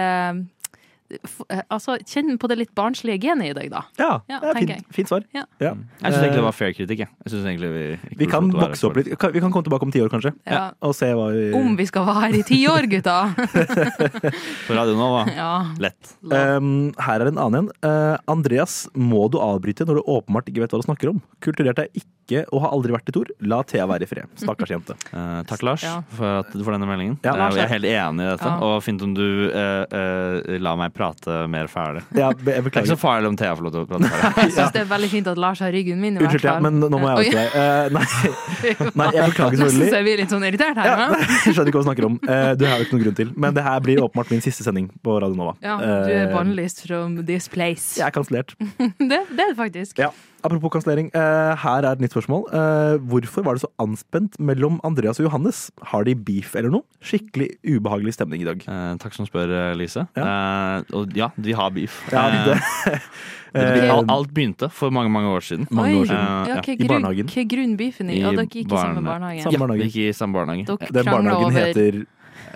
[SPEAKER 3] f- eh, Altså, kjenn på det litt barnslige genet i deg, da.
[SPEAKER 7] Ja,
[SPEAKER 3] Ja,
[SPEAKER 7] det er
[SPEAKER 3] tenker jeg.
[SPEAKER 7] fint, fint svar.
[SPEAKER 3] Ja.
[SPEAKER 6] jeg syns egentlig det var fair kritikk. Jeg. Jeg synes egentlig vi, ikke
[SPEAKER 7] Vi
[SPEAKER 6] burde
[SPEAKER 7] kan
[SPEAKER 6] fått være
[SPEAKER 7] vokse opp
[SPEAKER 6] for-
[SPEAKER 7] litt. Kan- Vi kan komme tilbake om ti år, kanskje,
[SPEAKER 3] Ja.
[SPEAKER 7] og se hva vi
[SPEAKER 3] Om vi skal være her i ti år, gutta!
[SPEAKER 6] På radio nå, hva?
[SPEAKER 3] Ja.
[SPEAKER 6] Lett.
[SPEAKER 7] Ehm, her er en annen en. Eh, Andreas, må du avbryte når du åpenbart ikke vet hva du snakker om? Kulturert er ikke og har aldri vært i Tor. La Thea være i fred. Stakkars jente.
[SPEAKER 6] Eh, takk, Lars,
[SPEAKER 3] Ja.
[SPEAKER 6] for, at, for denne meldingen.
[SPEAKER 7] Ja,
[SPEAKER 6] Eh,
[SPEAKER 7] Lars,
[SPEAKER 6] jeg er helt enig i dette.
[SPEAKER 3] Ja.
[SPEAKER 6] Og fint om du eh, eh, la meg prate mer ferdig.
[SPEAKER 7] Ja, be- jeg
[SPEAKER 6] Det er
[SPEAKER 7] beklager.
[SPEAKER 6] ikke så farlig om Thea får lov til å prate ferdig.
[SPEAKER 3] Jeg syns det er veldig fint at Lars har ryggen min, i
[SPEAKER 7] Unnskyld,
[SPEAKER 3] hvert
[SPEAKER 7] ja,
[SPEAKER 3] fall.
[SPEAKER 7] men nå må jeg oute deg. Eh,
[SPEAKER 3] *laughs*
[SPEAKER 7] nei, nei, jeg beklager
[SPEAKER 3] Nå syns
[SPEAKER 7] selvfølgelig.
[SPEAKER 3] jeg vi er litt sånn irritert her.
[SPEAKER 7] Ja,
[SPEAKER 3] Ja,
[SPEAKER 7] nei, *laughs* jeg skjønner ikke hva du snakker om. Eh, du har jo ikke noen grunn til. Men det her blir åpenbart min siste sending på Radio Nova.
[SPEAKER 3] ja Du er
[SPEAKER 7] Eh,
[SPEAKER 3] bannlyst from this place.
[SPEAKER 7] Jeg er kansellert.
[SPEAKER 3] *laughs* Det, det er det faktisk.
[SPEAKER 7] Ja. Apropos kansellering, eh, her er et nytt spørsmål. Eh, hvorfor var det så anspent mellom Andreas og Johannes? Har de beef eller noe? Skikkelig ubehagelig stemning i dag.
[SPEAKER 6] Eh, takk som spør, eh, Lise. Eh, og ja, vi har beef.
[SPEAKER 7] Ja,
[SPEAKER 6] Eh,
[SPEAKER 7] det,
[SPEAKER 6] *laughs*
[SPEAKER 7] Eh,
[SPEAKER 6] det- alt, alt begynte for mange, mange år siden.
[SPEAKER 7] mange
[SPEAKER 3] Oi.
[SPEAKER 7] år siden.
[SPEAKER 3] Ja,
[SPEAKER 6] Eh, ja,
[SPEAKER 3] hva
[SPEAKER 7] i barnehagen.
[SPEAKER 3] Hva er grunnbeefen i?
[SPEAKER 6] I
[SPEAKER 3] Og dere gikk i samme
[SPEAKER 6] barne-
[SPEAKER 3] barnehage?
[SPEAKER 7] Samme
[SPEAKER 6] Ja,
[SPEAKER 7] barnehage.
[SPEAKER 6] vi gikk i samme barnehage.
[SPEAKER 3] Dere
[SPEAKER 7] Den
[SPEAKER 3] krangla
[SPEAKER 7] barnehagen
[SPEAKER 3] over
[SPEAKER 7] heter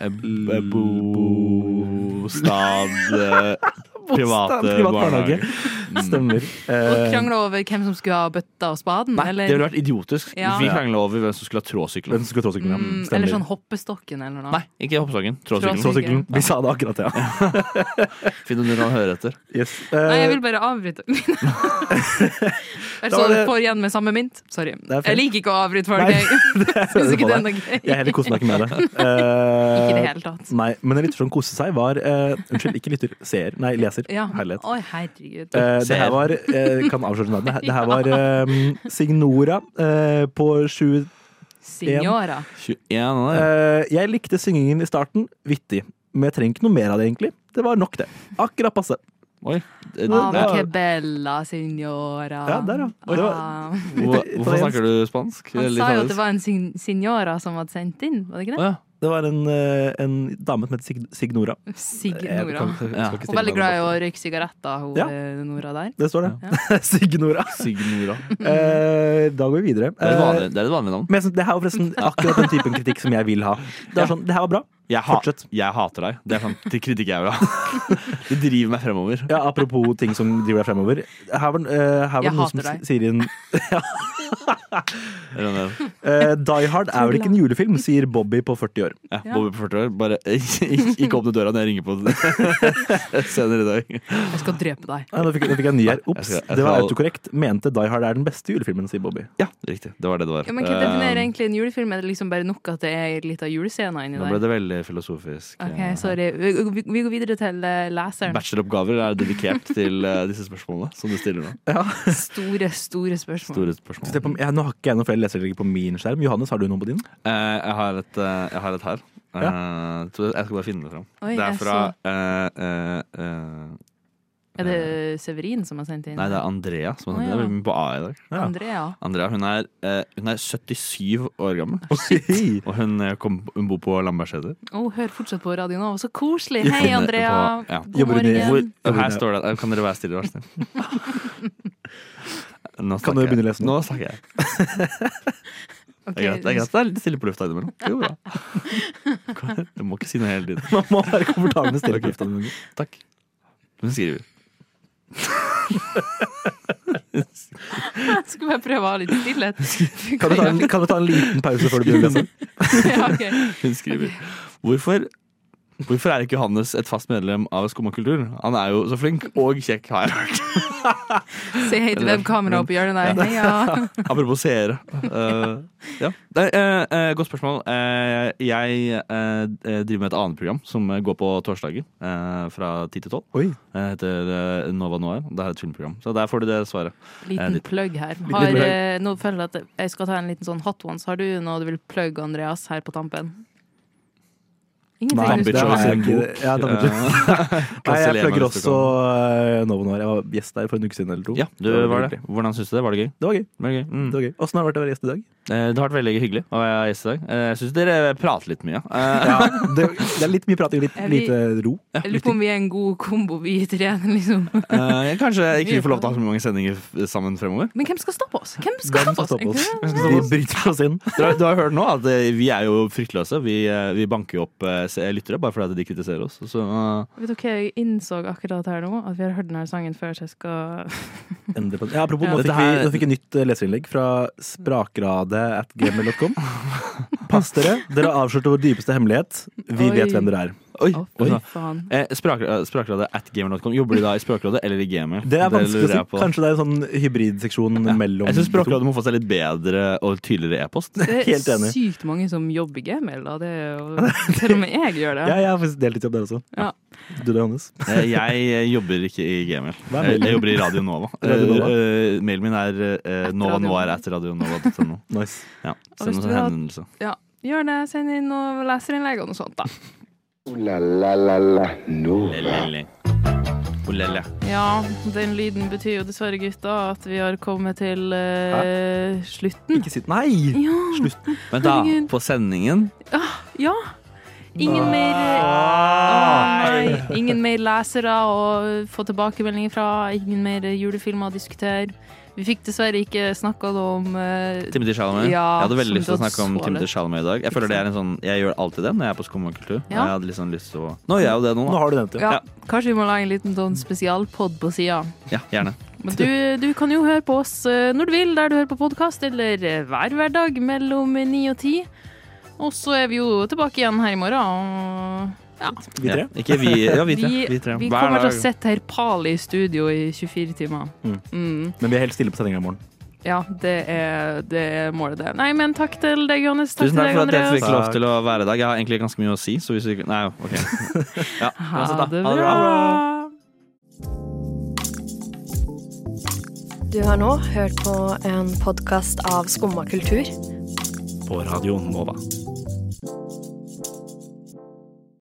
[SPEAKER 6] Eh, Bostad
[SPEAKER 7] *laughs*
[SPEAKER 6] eh, private
[SPEAKER 7] Bostad, privat barnehage.
[SPEAKER 6] barnehage. Mm.
[SPEAKER 7] Stemmer.
[SPEAKER 3] Dere
[SPEAKER 7] Eh,
[SPEAKER 3] krangla over hvem som skulle ha bøtta og spaden?
[SPEAKER 6] Nei, det
[SPEAKER 3] eller?
[SPEAKER 6] ville vært idiotisk.
[SPEAKER 3] Ja.
[SPEAKER 6] Vi krangla over hvem som skulle ha tråsykler.
[SPEAKER 7] hvem som skulle ha tråsykkel? ja.
[SPEAKER 3] Mm,
[SPEAKER 7] Stemmer.
[SPEAKER 3] eller sånn hoppestokken eller noe.
[SPEAKER 6] Nei, ikke hoppsokken.
[SPEAKER 3] Tråsykkel.
[SPEAKER 6] Tråsykkelen.
[SPEAKER 7] Tråsykkel. Vi sa det akkurat, ja.
[SPEAKER 6] Finn om du kan høre etter.
[SPEAKER 7] *laughs* Yes.
[SPEAKER 3] *laughs* Nei, jeg
[SPEAKER 7] Eh,
[SPEAKER 3] vil bare
[SPEAKER 7] *laughs*
[SPEAKER 3] avbryte. Eller
[SPEAKER 7] Da
[SPEAKER 3] så
[SPEAKER 7] var det-
[SPEAKER 3] får igjen med samme mynt. Sorry.
[SPEAKER 7] er fair.
[SPEAKER 3] Jeg liker ikke å avbryte folk.
[SPEAKER 7] Nei, *laughs*
[SPEAKER 3] Jeg
[SPEAKER 7] Eh,
[SPEAKER 3] syns ikke det er noe gøy.
[SPEAKER 7] jeg heller koser meg ikke med
[SPEAKER 3] *laughs*
[SPEAKER 7] det.
[SPEAKER 3] Ikke i det
[SPEAKER 7] Eh,
[SPEAKER 3] hele tatt.
[SPEAKER 7] nei, men en lytter som koste seg, var eh, Unnskyld, ikke lytter. Seer. Nei, leser.
[SPEAKER 3] Ja. *laughs*
[SPEAKER 7] Herlighet.
[SPEAKER 3] Oi, herregud.
[SPEAKER 7] Eh, det
[SPEAKER 6] Seer.
[SPEAKER 7] her var eh, Kan avsløre navnet. Det her
[SPEAKER 3] *laughs*
[SPEAKER 7] var eh, Signora eh, på 20
[SPEAKER 3] Signora.
[SPEAKER 6] 21 år.
[SPEAKER 7] eh, Jeg likte syngingen i starten. Vittig. Men jeg trenger ikke noe mer av det, egentlig. Det var nok, det. Akkurat passe.
[SPEAKER 6] Det-
[SPEAKER 3] Ah,
[SPEAKER 7] Eh, det-
[SPEAKER 3] che bella signora.
[SPEAKER 7] Ja, der, ja. Oi, det var-
[SPEAKER 3] Ah.
[SPEAKER 6] Hvor- Hvorfor snakker du spansk?
[SPEAKER 3] Han
[SPEAKER 6] Eller
[SPEAKER 3] sa jo at
[SPEAKER 6] italiensk?
[SPEAKER 3] det var en sin signora som hadde sendt inn, var det ikke
[SPEAKER 6] Å,
[SPEAKER 3] det?
[SPEAKER 6] ja.
[SPEAKER 7] Det var en, eh, en dame som het Sig Signora. Jeg
[SPEAKER 3] Signora.
[SPEAKER 7] kan- skal ikke
[SPEAKER 6] Ja.
[SPEAKER 7] stille
[SPEAKER 3] Hun er veldig glad i
[SPEAKER 7] navnet
[SPEAKER 3] å røyke sigaretter, hun
[SPEAKER 7] Ja.
[SPEAKER 3] eh, Nora der.
[SPEAKER 7] på. Det står det. *laughs*
[SPEAKER 3] *laughs*
[SPEAKER 7] Signora.
[SPEAKER 6] Signora.
[SPEAKER 7] Eh, da går vi videre.
[SPEAKER 6] Det Mm. er et
[SPEAKER 7] Eh,
[SPEAKER 6] vanlig, det er et vanlig navn.
[SPEAKER 7] Men jeg synes, det her var forresten akkurat den typen kritikk som jeg vil ha. Det er sånn, det her var bra.
[SPEAKER 6] Jeg, ha,
[SPEAKER 7] Fortsett.
[SPEAKER 6] jeg hater deg. Det er sånn, det kritikk jeg vil ha. *laughs* Det driver meg fremover.
[SPEAKER 7] Ja, apropos ting som driver deg fremover. Her var, eh, her var
[SPEAKER 3] Jeg
[SPEAKER 7] noen som
[SPEAKER 3] hater deg.
[SPEAKER 7] sier
[SPEAKER 6] *laughs*
[SPEAKER 7] inn
[SPEAKER 6] Er det det?
[SPEAKER 7] eh, Die Hard er vel ikke en julefilm, sier Bobby på 40 år.
[SPEAKER 6] Ja, Bobby på 40 år, bare *laughs* ikke, ikke åpne døra når jeg ringer på *laughs* den senere i dag.
[SPEAKER 3] Jeg skal drepe deg.
[SPEAKER 7] Nei, nå fikk, nå fikk jeg en ny her.
[SPEAKER 6] *laughs*
[SPEAKER 7] Ops,
[SPEAKER 6] Jeg skal- jeg
[SPEAKER 7] det var
[SPEAKER 6] skal-
[SPEAKER 7] autokorrekt. Mente Die Hard er den beste julefilmen, sier Bobby.
[SPEAKER 6] Ja, riktig. Det var det det var.
[SPEAKER 3] Ja, men Hva definerer
[SPEAKER 6] Eh,
[SPEAKER 3] egentlig en julefilm? Er det liksom bare nok at det er litt av julescener inni
[SPEAKER 6] Nå ble
[SPEAKER 3] der?
[SPEAKER 6] det veldig filosofisk. eh,
[SPEAKER 3] Ok, sorry. Vi, vi- vi går videre til eh, leseren.
[SPEAKER 6] Bacheloroppgaver er dedikert til eh, disse spørsmålene som du stiller nå.
[SPEAKER 3] Store, store spørsmål.
[SPEAKER 6] Store
[SPEAKER 7] Så se
[SPEAKER 6] spørsmål.
[SPEAKER 7] på- Ja, nå har ikke jeg noen flere leserlegger på min skjerm. Johannes, har du noen på din?
[SPEAKER 6] Eh, jeg, har et, eh, jeg har et her. Eh, tror jeg jeg skal bare finne det fram.
[SPEAKER 3] Oi,
[SPEAKER 6] det
[SPEAKER 3] jeg
[SPEAKER 6] er fra eh, eh, eh,
[SPEAKER 3] Er det Severin som har sendt inn?
[SPEAKER 6] Nei, det er Andrea som har
[SPEAKER 3] Å, ja.
[SPEAKER 6] sendt det. Det er veldig mye på A i dag.
[SPEAKER 7] Ja.
[SPEAKER 3] Andrea.
[SPEAKER 6] Andrea hun er, eh, hun er 77 år gammel.
[SPEAKER 7] Oi.
[SPEAKER 6] Og hun, eh, kom, hun bor på Lambertseter.
[SPEAKER 3] Å, hør fortsatt på radioen nå. Så koselig. Hei,
[SPEAKER 6] Hun er
[SPEAKER 3] Andrea.
[SPEAKER 6] på- *laughs* ja.
[SPEAKER 3] God
[SPEAKER 7] *laughs* Jobber hun i-
[SPEAKER 6] Hvor,
[SPEAKER 3] morgen.
[SPEAKER 7] Ja,
[SPEAKER 6] her
[SPEAKER 7] men-
[SPEAKER 6] står det Kan dere være stille, vær så
[SPEAKER 7] *laughs*
[SPEAKER 6] snill? Nå
[SPEAKER 7] Kan du
[SPEAKER 6] snakker jeg.
[SPEAKER 7] begynne å lese nå?
[SPEAKER 6] Nå snakker jeg.
[SPEAKER 3] Ok,
[SPEAKER 6] Det er greit. Det er, greit. Det er litt stille på lufta innimellom. Det går
[SPEAKER 3] *laughs*
[SPEAKER 6] bra. Du må ikke si noe hele tiden.
[SPEAKER 7] Man må være komfortabel med stille på lufta noen ganger.
[SPEAKER 6] Takk. Hun skriver
[SPEAKER 3] Jeg skulle bare prøve å ha litt *laughs* stillhet.
[SPEAKER 7] Kan du ta en, kan du ta en liten pause før du begynner å lese?
[SPEAKER 3] Ja, ok.
[SPEAKER 6] Hun skriver Hvorfor Hvorfor er ikke Johannes et fast medlem av Skummakultur? Han er jo så flink og kjekk, har jeg hørt.
[SPEAKER 3] Si hei til webkameraet oppi hjørnet der. Heia.
[SPEAKER 6] Apropos seere. Eh, ja. Nei, eh, eh, godt spørsmål. Eh, jeg eh, driver med et annet program som går på torsdager eh, fra 10 til 12.
[SPEAKER 7] Oi.
[SPEAKER 6] Det heter eh, Nova Noir. Det er et filmprogram. Så der får du det
[SPEAKER 7] *laughs*
[SPEAKER 6] svaret.
[SPEAKER 3] *laughs* Liten
[SPEAKER 6] litt-
[SPEAKER 3] plugg her.
[SPEAKER 7] plugg.
[SPEAKER 3] Har, eh, nå føler jeg at jeg skal ta en liten sånn hot ones. Har du noe du vil plugge, Andreas, her på tampen? Ingenting.
[SPEAKER 7] *laughs* Nei, altså.
[SPEAKER 6] Bambi
[SPEAKER 7] det har
[SPEAKER 6] Choice
[SPEAKER 7] jeg
[SPEAKER 6] er
[SPEAKER 7] ikke. Ja, Bambi Choice.
[SPEAKER 6] Eh,
[SPEAKER 7] Nei, jeg
[SPEAKER 6] Kanskje
[SPEAKER 7] plugger
[SPEAKER 6] Lena
[SPEAKER 7] også eh, Novo Noir. Jeg var gjest der for en uke siden eller to.
[SPEAKER 6] Ja, du
[SPEAKER 7] Det var
[SPEAKER 6] var
[SPEAKER 7] veldig
[SPEAKER 6] det. Hvordan syns du det? Var det gøy?
[SPEAKER 7] Det var gøy.
[SPEAKER 6] Var det gøy? Mm.
[SPEAKER 7] Det var gøy. Åssen har det vært å være gjest
[SPEAKER 6] *laughs*
[SPEAKER 7] i dag?
[SPEAKER 6] Eh, Det har vært veldig hyggelig å være gjest i dag. Eh, Jeg syns dere prater litt mye. Eh,
[SPEAKER 7] Ja, det, det er litt mye prating, litt
[SPEAKER 3] Er vi-
[SPEAKER 7] lite ro.
[SPEAKER 3] Jeg lurer på om vi er en god kombo, vi tre. Liksom.
[SPEAKER 6] eh, Kanskje jeg ikke vi får lov til å ha så mange sendinger f- sammen fremover.
[SPEAKER 3] Men hvem skal stoppe oss? Hvem skal
[SPEAKER 7] Hvem
[SPEAKER 3] stoppe
[SPEAKER 7] skal
[SPEAKER 3] oss?
[SPEAKER 7] stoppe
[SPEAKER 3] Ikke
[SPEAKER 7] oss?
[SPEAKER 3] det?
[SPEAKER 7] Vi bryter oss inn.
[SPEAKER 6] Du har, du har hørt nå at eh, vi er jo fryktløse. Vi, eh, vi banker jo opp eh, se- lyttere bare fordi at de kritiserer oss. Så eh,
[SPEAKER 3] Vet du hva jeg innså akkurat her nå? At vi har hørt denne sangen før, så jeg skal
[SPEAKER 7] Endre på det. Ja, apropos,
[SPEAKER 3] Ja.
[SPEAKER 7] nå fikk
[SPEAKER 6] Dette
[SPEAKER 7] vi
[SPEAKER 6] her-
[SPEAKER 7] nå fikk jeg nytt eh, leserinnlegg fra sprakrade at gmail.com. Pass dere. Dere har avslørt vår dypeste hemmelighet. Vi
[SPEAKER 3] Oi.
[SPEAKER 7] vet hvem dere er.
[SPEAKER 6] Oi,
[SPEAKER 3] fy
[SPEAKER 6] oi.
[SPEAKER 3] faen.
[SPEAKER 6] Eh, språk- eh, Språkradet at gamer.com. Jobber du da i Språkrådet eller i gamer?
[SPEAKER 7] Det er vanskelig å
[SPEAKER 6] lurer
[SPEAKER 7] si.
[SPEAKER 6] jeg på.
[SPEAKER 7] Kanskje det er en sånn hybridseksjon mellom
[SPEAKER 6] Jeg syns
[SPEAKER 7] de to.
[SPEAKER 6] Språkrådet må få seg litt bedre og tydeligere
[SPEAKER 7] *laughs*
[SPEAKER 6] e-post.
[SPEAKER 3] Det
[SPEAKER 7] Helt
[SPEAKER 3] er
[SPEAKER 7] enig.
[SPEAKER 3] sykt mange som jobber i gmail, da. Det er
[SPEAKER 7] *laughs*
[SPEAKER 3] jo, til og med jeg gjør det.
[SPEAKER 7] Ja, jeg har faktisk deltidsjobb der også.
[SPEAKER 3] Ja.
[SPEAKER 7] Du da, Johannes?
[SPEAKER 6] Eh, Jeg eh, jobber ikke i gamer.
[SPEAKER 7] Hva er
[SPEAKER 6] Eh,
[SPEAKER 7] mailen?
[SPEAKER 6] Jeg jobber i Radio Nova.
[SPEAKER 7] *laughs* Radio Nova.
[SPEAKER 6] Eh, eh, Mailen min er eh, novanoir
[SPEAKER 3] Radio
[SPEAKER 6] etter radionova.no.
[SPEAKER 7] Nice.
[SPEAKER 6] Ja,
[SPEAKER 3] Og hvis
[SPEAKER 6] send oss
[SPEAKER 3] du
[SPEAKER 6] en
[SPEAKER 3] har-
[SPEAKER 6] henvendelse.
[SPEAKER 3] Gjør det. Send inn noen leserinnlegg og noe sånt, da.
[SPEAKER 2] Ooh la la la la Nova.
[SPEAKER 6] Lelele. Olele.
[SPEAKER 3] Ja, den lyden betyr jo dessverre, gutta, at vi har kommet til eh, slutten.
[SPEAKER 7] Ikke sitt Nei!
[SPEAKER 3] Ja.
[SPEAKER 7] Slutten.
[SPEAKER 6] Vent, da.
[SPEAKER 3] Herregud.
[SPEAKER 6] På sendingen
[SPEAKER 3] ja. Ingen mer Å, nei. Ingen mer lesere å få tilbakemeldinger fra. Ingen mer julefilmer å diskutere. Vi fikk dessverre ikke snakka noe om eh,
[SPEAKER 6] Timothy Chalamet.
[SPEAKER 3] Ja,
[SPEAKER 6] jeg hadde
[SPEAKER 3] som
[SPEAKER 6] veldig lyst til å
[SPEAKER 3] du hadde
[SPEAKER 6] snakke om
[SPEAKER 3] så
[SPEAKER 6] Timothy
[SPEAKER 3] lyst.
[SPEAKER 6] Chalamet i dag. Jeg føler det er en sånn Jeg gjør alltid det når jeg er på skummakultur. Og
[SPEAKER 3] Ja.
[SPEAKER 6] Jeg hadde liksom lyst til å Nå gjør jeg jo det nå,
[SPEAKER 7] Nå
[SPEAKER 6] da.
[SPEAKER 7] har du nevnt det.
[SPEAKER 3] ja, Kanskje vi må lage en liten sånn spesialpod på sida.
[SPEAKER 6] Ja, gjerne.
[SPEAKER 3] Men du, du kan jo høre på oss eh, når du vil, der du hører på podkast, eller eh, hver hverdag mellom eh, ni og ti. Og så er vi jo tilbake igjen her i morgen. Og ja,
[SPEAKER 7] Vi tre.
[SPEAKER 6] Ja. Ikke vi, ja, vi tre.
[SPEAKER 3] vi,
[SPEAKER 6] Vi tre.
[SPEAKER 3] vi
[SPEAKER 6] Hver
[SPEAKER 3] kommer til
[SPEAKER 6] dag.
[SPEAKER 3] å sitte her pal i studio i 24 timer.
[SPEAKER 7] Mm.
[SPEAKER 3] Mm.
[SPEAKER 7] Men vi er helt stille på sendinga i morgen.
[SPEAKER 3] Ja, det er, det er målet, det. Nei, men takk til deg, Johannes. Takk
[SPEAKER 6] Tusen takk
[SPEAKER 3] til
[SPEAKER 6] for at
[SPEAKER 3] deg,
[SPEAKER 6] jeg fikk
[SPEAKER 3] Andreas.
[SPEAKER 6] lov til å være i dag. Jeg har egentlig ganske mye å si, så hvis vi Nei, OK. Ja,
[SPEAKER 3] Ha
[SPEAKER 6] uansett, da.
[SPEAKER 3] det bra.
[SPEAKER 9] Du har nå hørt på en podkast av Skumma kultur.
[SPEAKER 11] På radioen Nova.